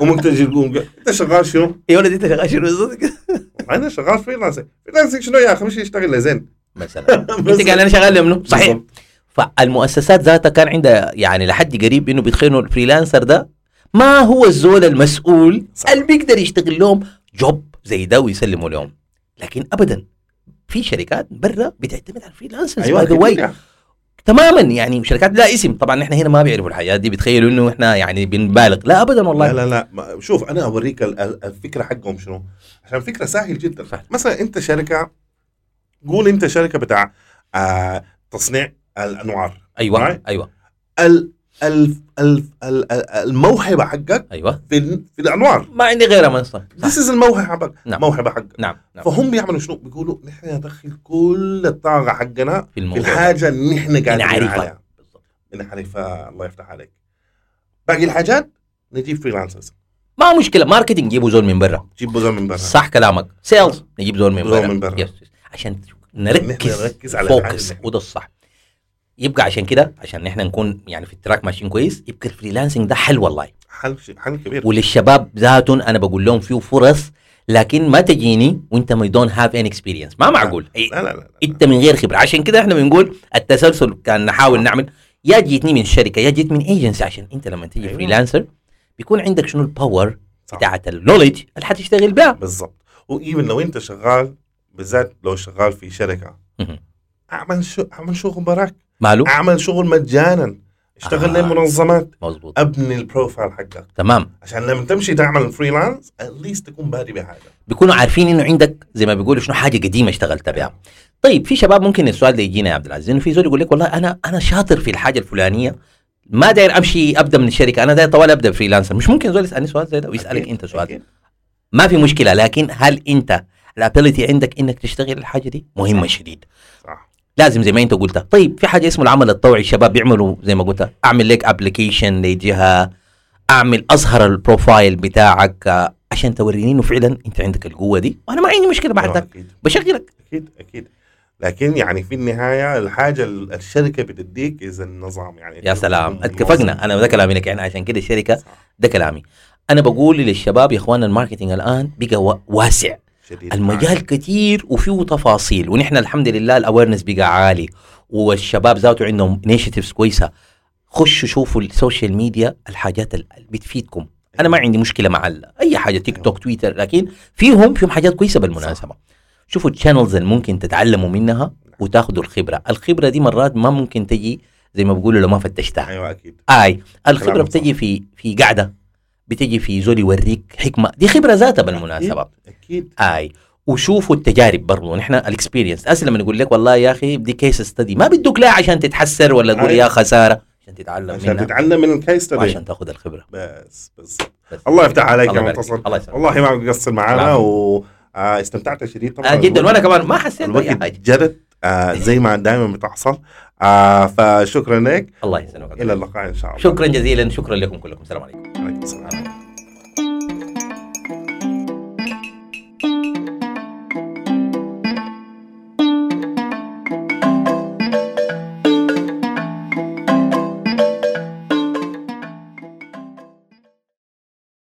Speaker 1: وممكن تجي تقول انت شغال شنو؟
Speaker 2: يا ولد انت شغال شنو بالظبط كده؟
Speaker 1: والله انا شغال فريلانسنج فريلانسنج شنو يا اخي مش يشتغل لزين
Speaker 2: (laughs) مثلا انت قال انا شغال لمنو صحيح فالمؤسسات ذاتها كان عندها يعني لحد قريب انه بيتخيلوا الفريلانسر ده ما هو الزول المسؤول
Speaker 1: صح.
Speaker 2: اللي بيقدر يشتغل لهم جوب زي ده ويسلموا لهم لكن ابدا في شركات برا بتعتمد على الفريلانسرز
Speaker 1: ايوه
Speaker 2: باي ذا
Speaker 1: كتير
Speaker 2: واي
Speaker 1: يا.
Speaker 2: تماما يعني شركات لا اسم طبعا احنا هنا ما بيعرفوا الحاجات دي بيتخيلوا انه احنا يعني بنبالغ لا ابدا والله
Speaker 1: لا لا لا ما- شوف انا اوريك ال- ال- الفكره حقهم شنو عشان فكره سهل جدا
Speaker 2: فعلا.
Speaker 1: مثلا انت شركه قول انت شركه بتاع آه تصنيع الانوار
Speaker 2: ايوه
Speaker 1: Right.
Speaker 2: ايوه
Speaker 1: ال ال ال ال- ال- الموهبه حقك
Speaker 2: ايوه
Speaker 1: في, ال- في الانوار
Speaker 2: ما عندي غيرها من صح
Speaker 1: ذيس از الموهبه حقك
Speaker 2: نعم.
Speaker 1: موهبه حقك
Speaker 2: نعم نعم
Speaker 1: فهم بيعملوا شنو؟ بيقولوا نحن ندخل كل الطاقه حقنا
Speaker 2: في
Speaker 1: في
Speaker 2: الموضوع
Speaker 1: الحاجه اللي نحن قاعدين
Speaker 2: نعرفها.
Speaker 1: عليها نعرفها الله يفتح عليك باقي الحاجات نجيب فريلانسرز
Speaker 2: ما مشكله ماركتنج جيبوا زول من برا
Speaker 1: جيب بزر من برا
Speaker 2: صح كلامك سيلز نجيب زول من
Speaker 1: زول
Speaker 2: برا
Speaker 1: من برا.
Speaker 2: يس يس. عشان نركز
Speaker 1: نحن نركز على
Speaker 2: فوكس
Speaker 1: العالم.
Speaker 2: وده الصح يبقى عشان كده عشان احنا نكون يعني في التراك ماشيين كويس يبقى الفريلانسنج ده حل والله
Speaker 1: حل شيء- حل كبير
Speaker 2: وللشباب ذاتهم انا بقول لهم فيه فرص لكن ما تجيني وانت ما دونت هاف ان اكسبيرينس ما معقول إيه،
Speaker 1: لا لا لا
Speaker 2: انت من غير خبره عشان كده احنا بنقول التسلسل كان
Speaker 1: آه.
Speaker 2: نحاول نعمل يا جيتني من شركه يا جيت من ايجنسي عشان انت لما تيجي
Speaker 1: أيوة.
Speaker 2: فريلانسر بيكون عندك شنو الباور
Speaker 1: صح.
Speaker 2: بتاعت النولج اللي حتشتغل بها
Speaker 1: بالضبط وايفن لو انت شغال بالذات لو شغال في شركه
Speaker 2: مهم.
Speaker 1: اعمل شو اعمل شغل براك
Speaker 2: ماله
Speaker 1: اعمل شغل مجانا اشتغل
Speaker 2: آه.
Speaker 1: آه. لمنظمات
Speaker 2: مظبوط
Speaker 1: ابني البروفايل حقك
Speaker 2: تمام
Speaker 1: عشان لما تمشي تعمل فريلانس اتليست تكون بادي بهذا
Speaker 2: بيكونوا عارفين انه عندك زي ما بيقولوا شنو حاجه قديمه اشتغلت بها طيب في شباب ممكن السؤال ده يجينا يا عبد العزيز انه في زول يقول لك والله انا انا شاطر في الحاجه الفلانيه ما داير امشي ابدا من الشركه انا داير طوال ابدا فريلانسر مش ممكن زول يسالني سؤال زي ده ويسالك
Speaker 1: أكيد،
Speaker 2: انت سؤال
Speaker 1: أكيد.
Speaker 2: ما في مشكله لكن هل انت الابيلتي عندك انك تشتغل الحاجه دي مهمه شديد
Speaker 1: صح
Speaker 2: لازم زي ما انت قلت طيب في حاجه اسمه العمل الطوعي الشباب بيعملوا زي ما قلت اعمل لك ابلكيشن لجهه اعمل اظهر البروفايل بتاعك آه، عشان توريني انه فعلا انت عندك القوه دي وانا ما عندي مشكله
Speaker 1: أيوة،
Speaker 2: بعدك
Speaker 1: اكيد
Speaker 2: بشغلك
Speaker 1: اكيد اكيد لكن يعني في النهايه الحاجه ال- الشركه بتديك اذا النظام يعني
Speaker 2: يا سلام
Speaker 1: منظم.
Speaker 2: اتفقنا انا ده كلامي لك يعني عشان كده الشركه
Speaker 1: صح،
Speaker 2: ده كلامي انا بقول للشباب يا اخوان الماركتينج الان بقى وا- واسع
Speaker 1: شديد أيوة،
Speaker 2: المجال كتير وفيه تفاصيل ونحن الحمد لله الاويرنس بقى عالي والشباب ذاته عندهم انيشيتيفز كويسه خشوا شوفوا السوشيال ميديا الحاجات اللي بتفيدكم انا
Speaker 1: أيوة.
Speaker 2: ما عندي مشكله مع ال- اي حاجه تيك توك تويتر لكن فيهم فيهم حاجات كويسه بالمناسبه شوفوا الشانلز اللي ممكن تتعلموا منها وتاخذوا الخبره الخبره دي مرات ما ممكن تجي زي ما بيقولوا لو ما فتشتها
Speaker 1: ايوه اكيد
Speaker 2: اي الخبره
Speaker 1: كلامك
Speaker 2: بتجي في في قاعده بتجي في زول يوريك حكمه دي خبره ذاتها بالمناسبه
Speaker 1: اكيد
Speaker 2: اي وشوفوا التجارب برضو نحن الاكسبيرينس اسهل لما يقول لك والله يا اخي دي كيس ستدي ما بدك لا عشان تتحسر ولا تقول
Speaker 1: أي.
Speaker 2: يا خساره عشان تتعلم
Speaker 1: عشان
Speaker 2: منها
Speaker 1: تتعلم من الكيس ستدي
Speaker 2: وعشان تاخذ الخبره
Speaker 1: بس بس
Speaker 2: بس.
Speaker 1: الله يفتح عليك يا
Speaker 2: الله يبارك
Speaker 1: منتصر
Speaker 2: فيك. الله يسلمك
Speaker 1: والله ما بتقصر معانا
Speaker 2: العفو.
Speaker 1: واستمتعت شديد
Speaker 2: آه
Speaker 1: طبعا
Speaker 2: جدا وانا كمان ما حسيت باي
Speaker 1: الوقت
Speaker 2: حاجه
Speaker 1: جرت آه زي ما دائما بتحصل آه فشكرا لك
Speaker 2: الله يسلمك
Speaker 1: الى اللقاء ان شاء الله
Speaker 2: شكرا جزيلا شكرا لكم كلكم السلام عليكم
Speaker 1: عليكم السلام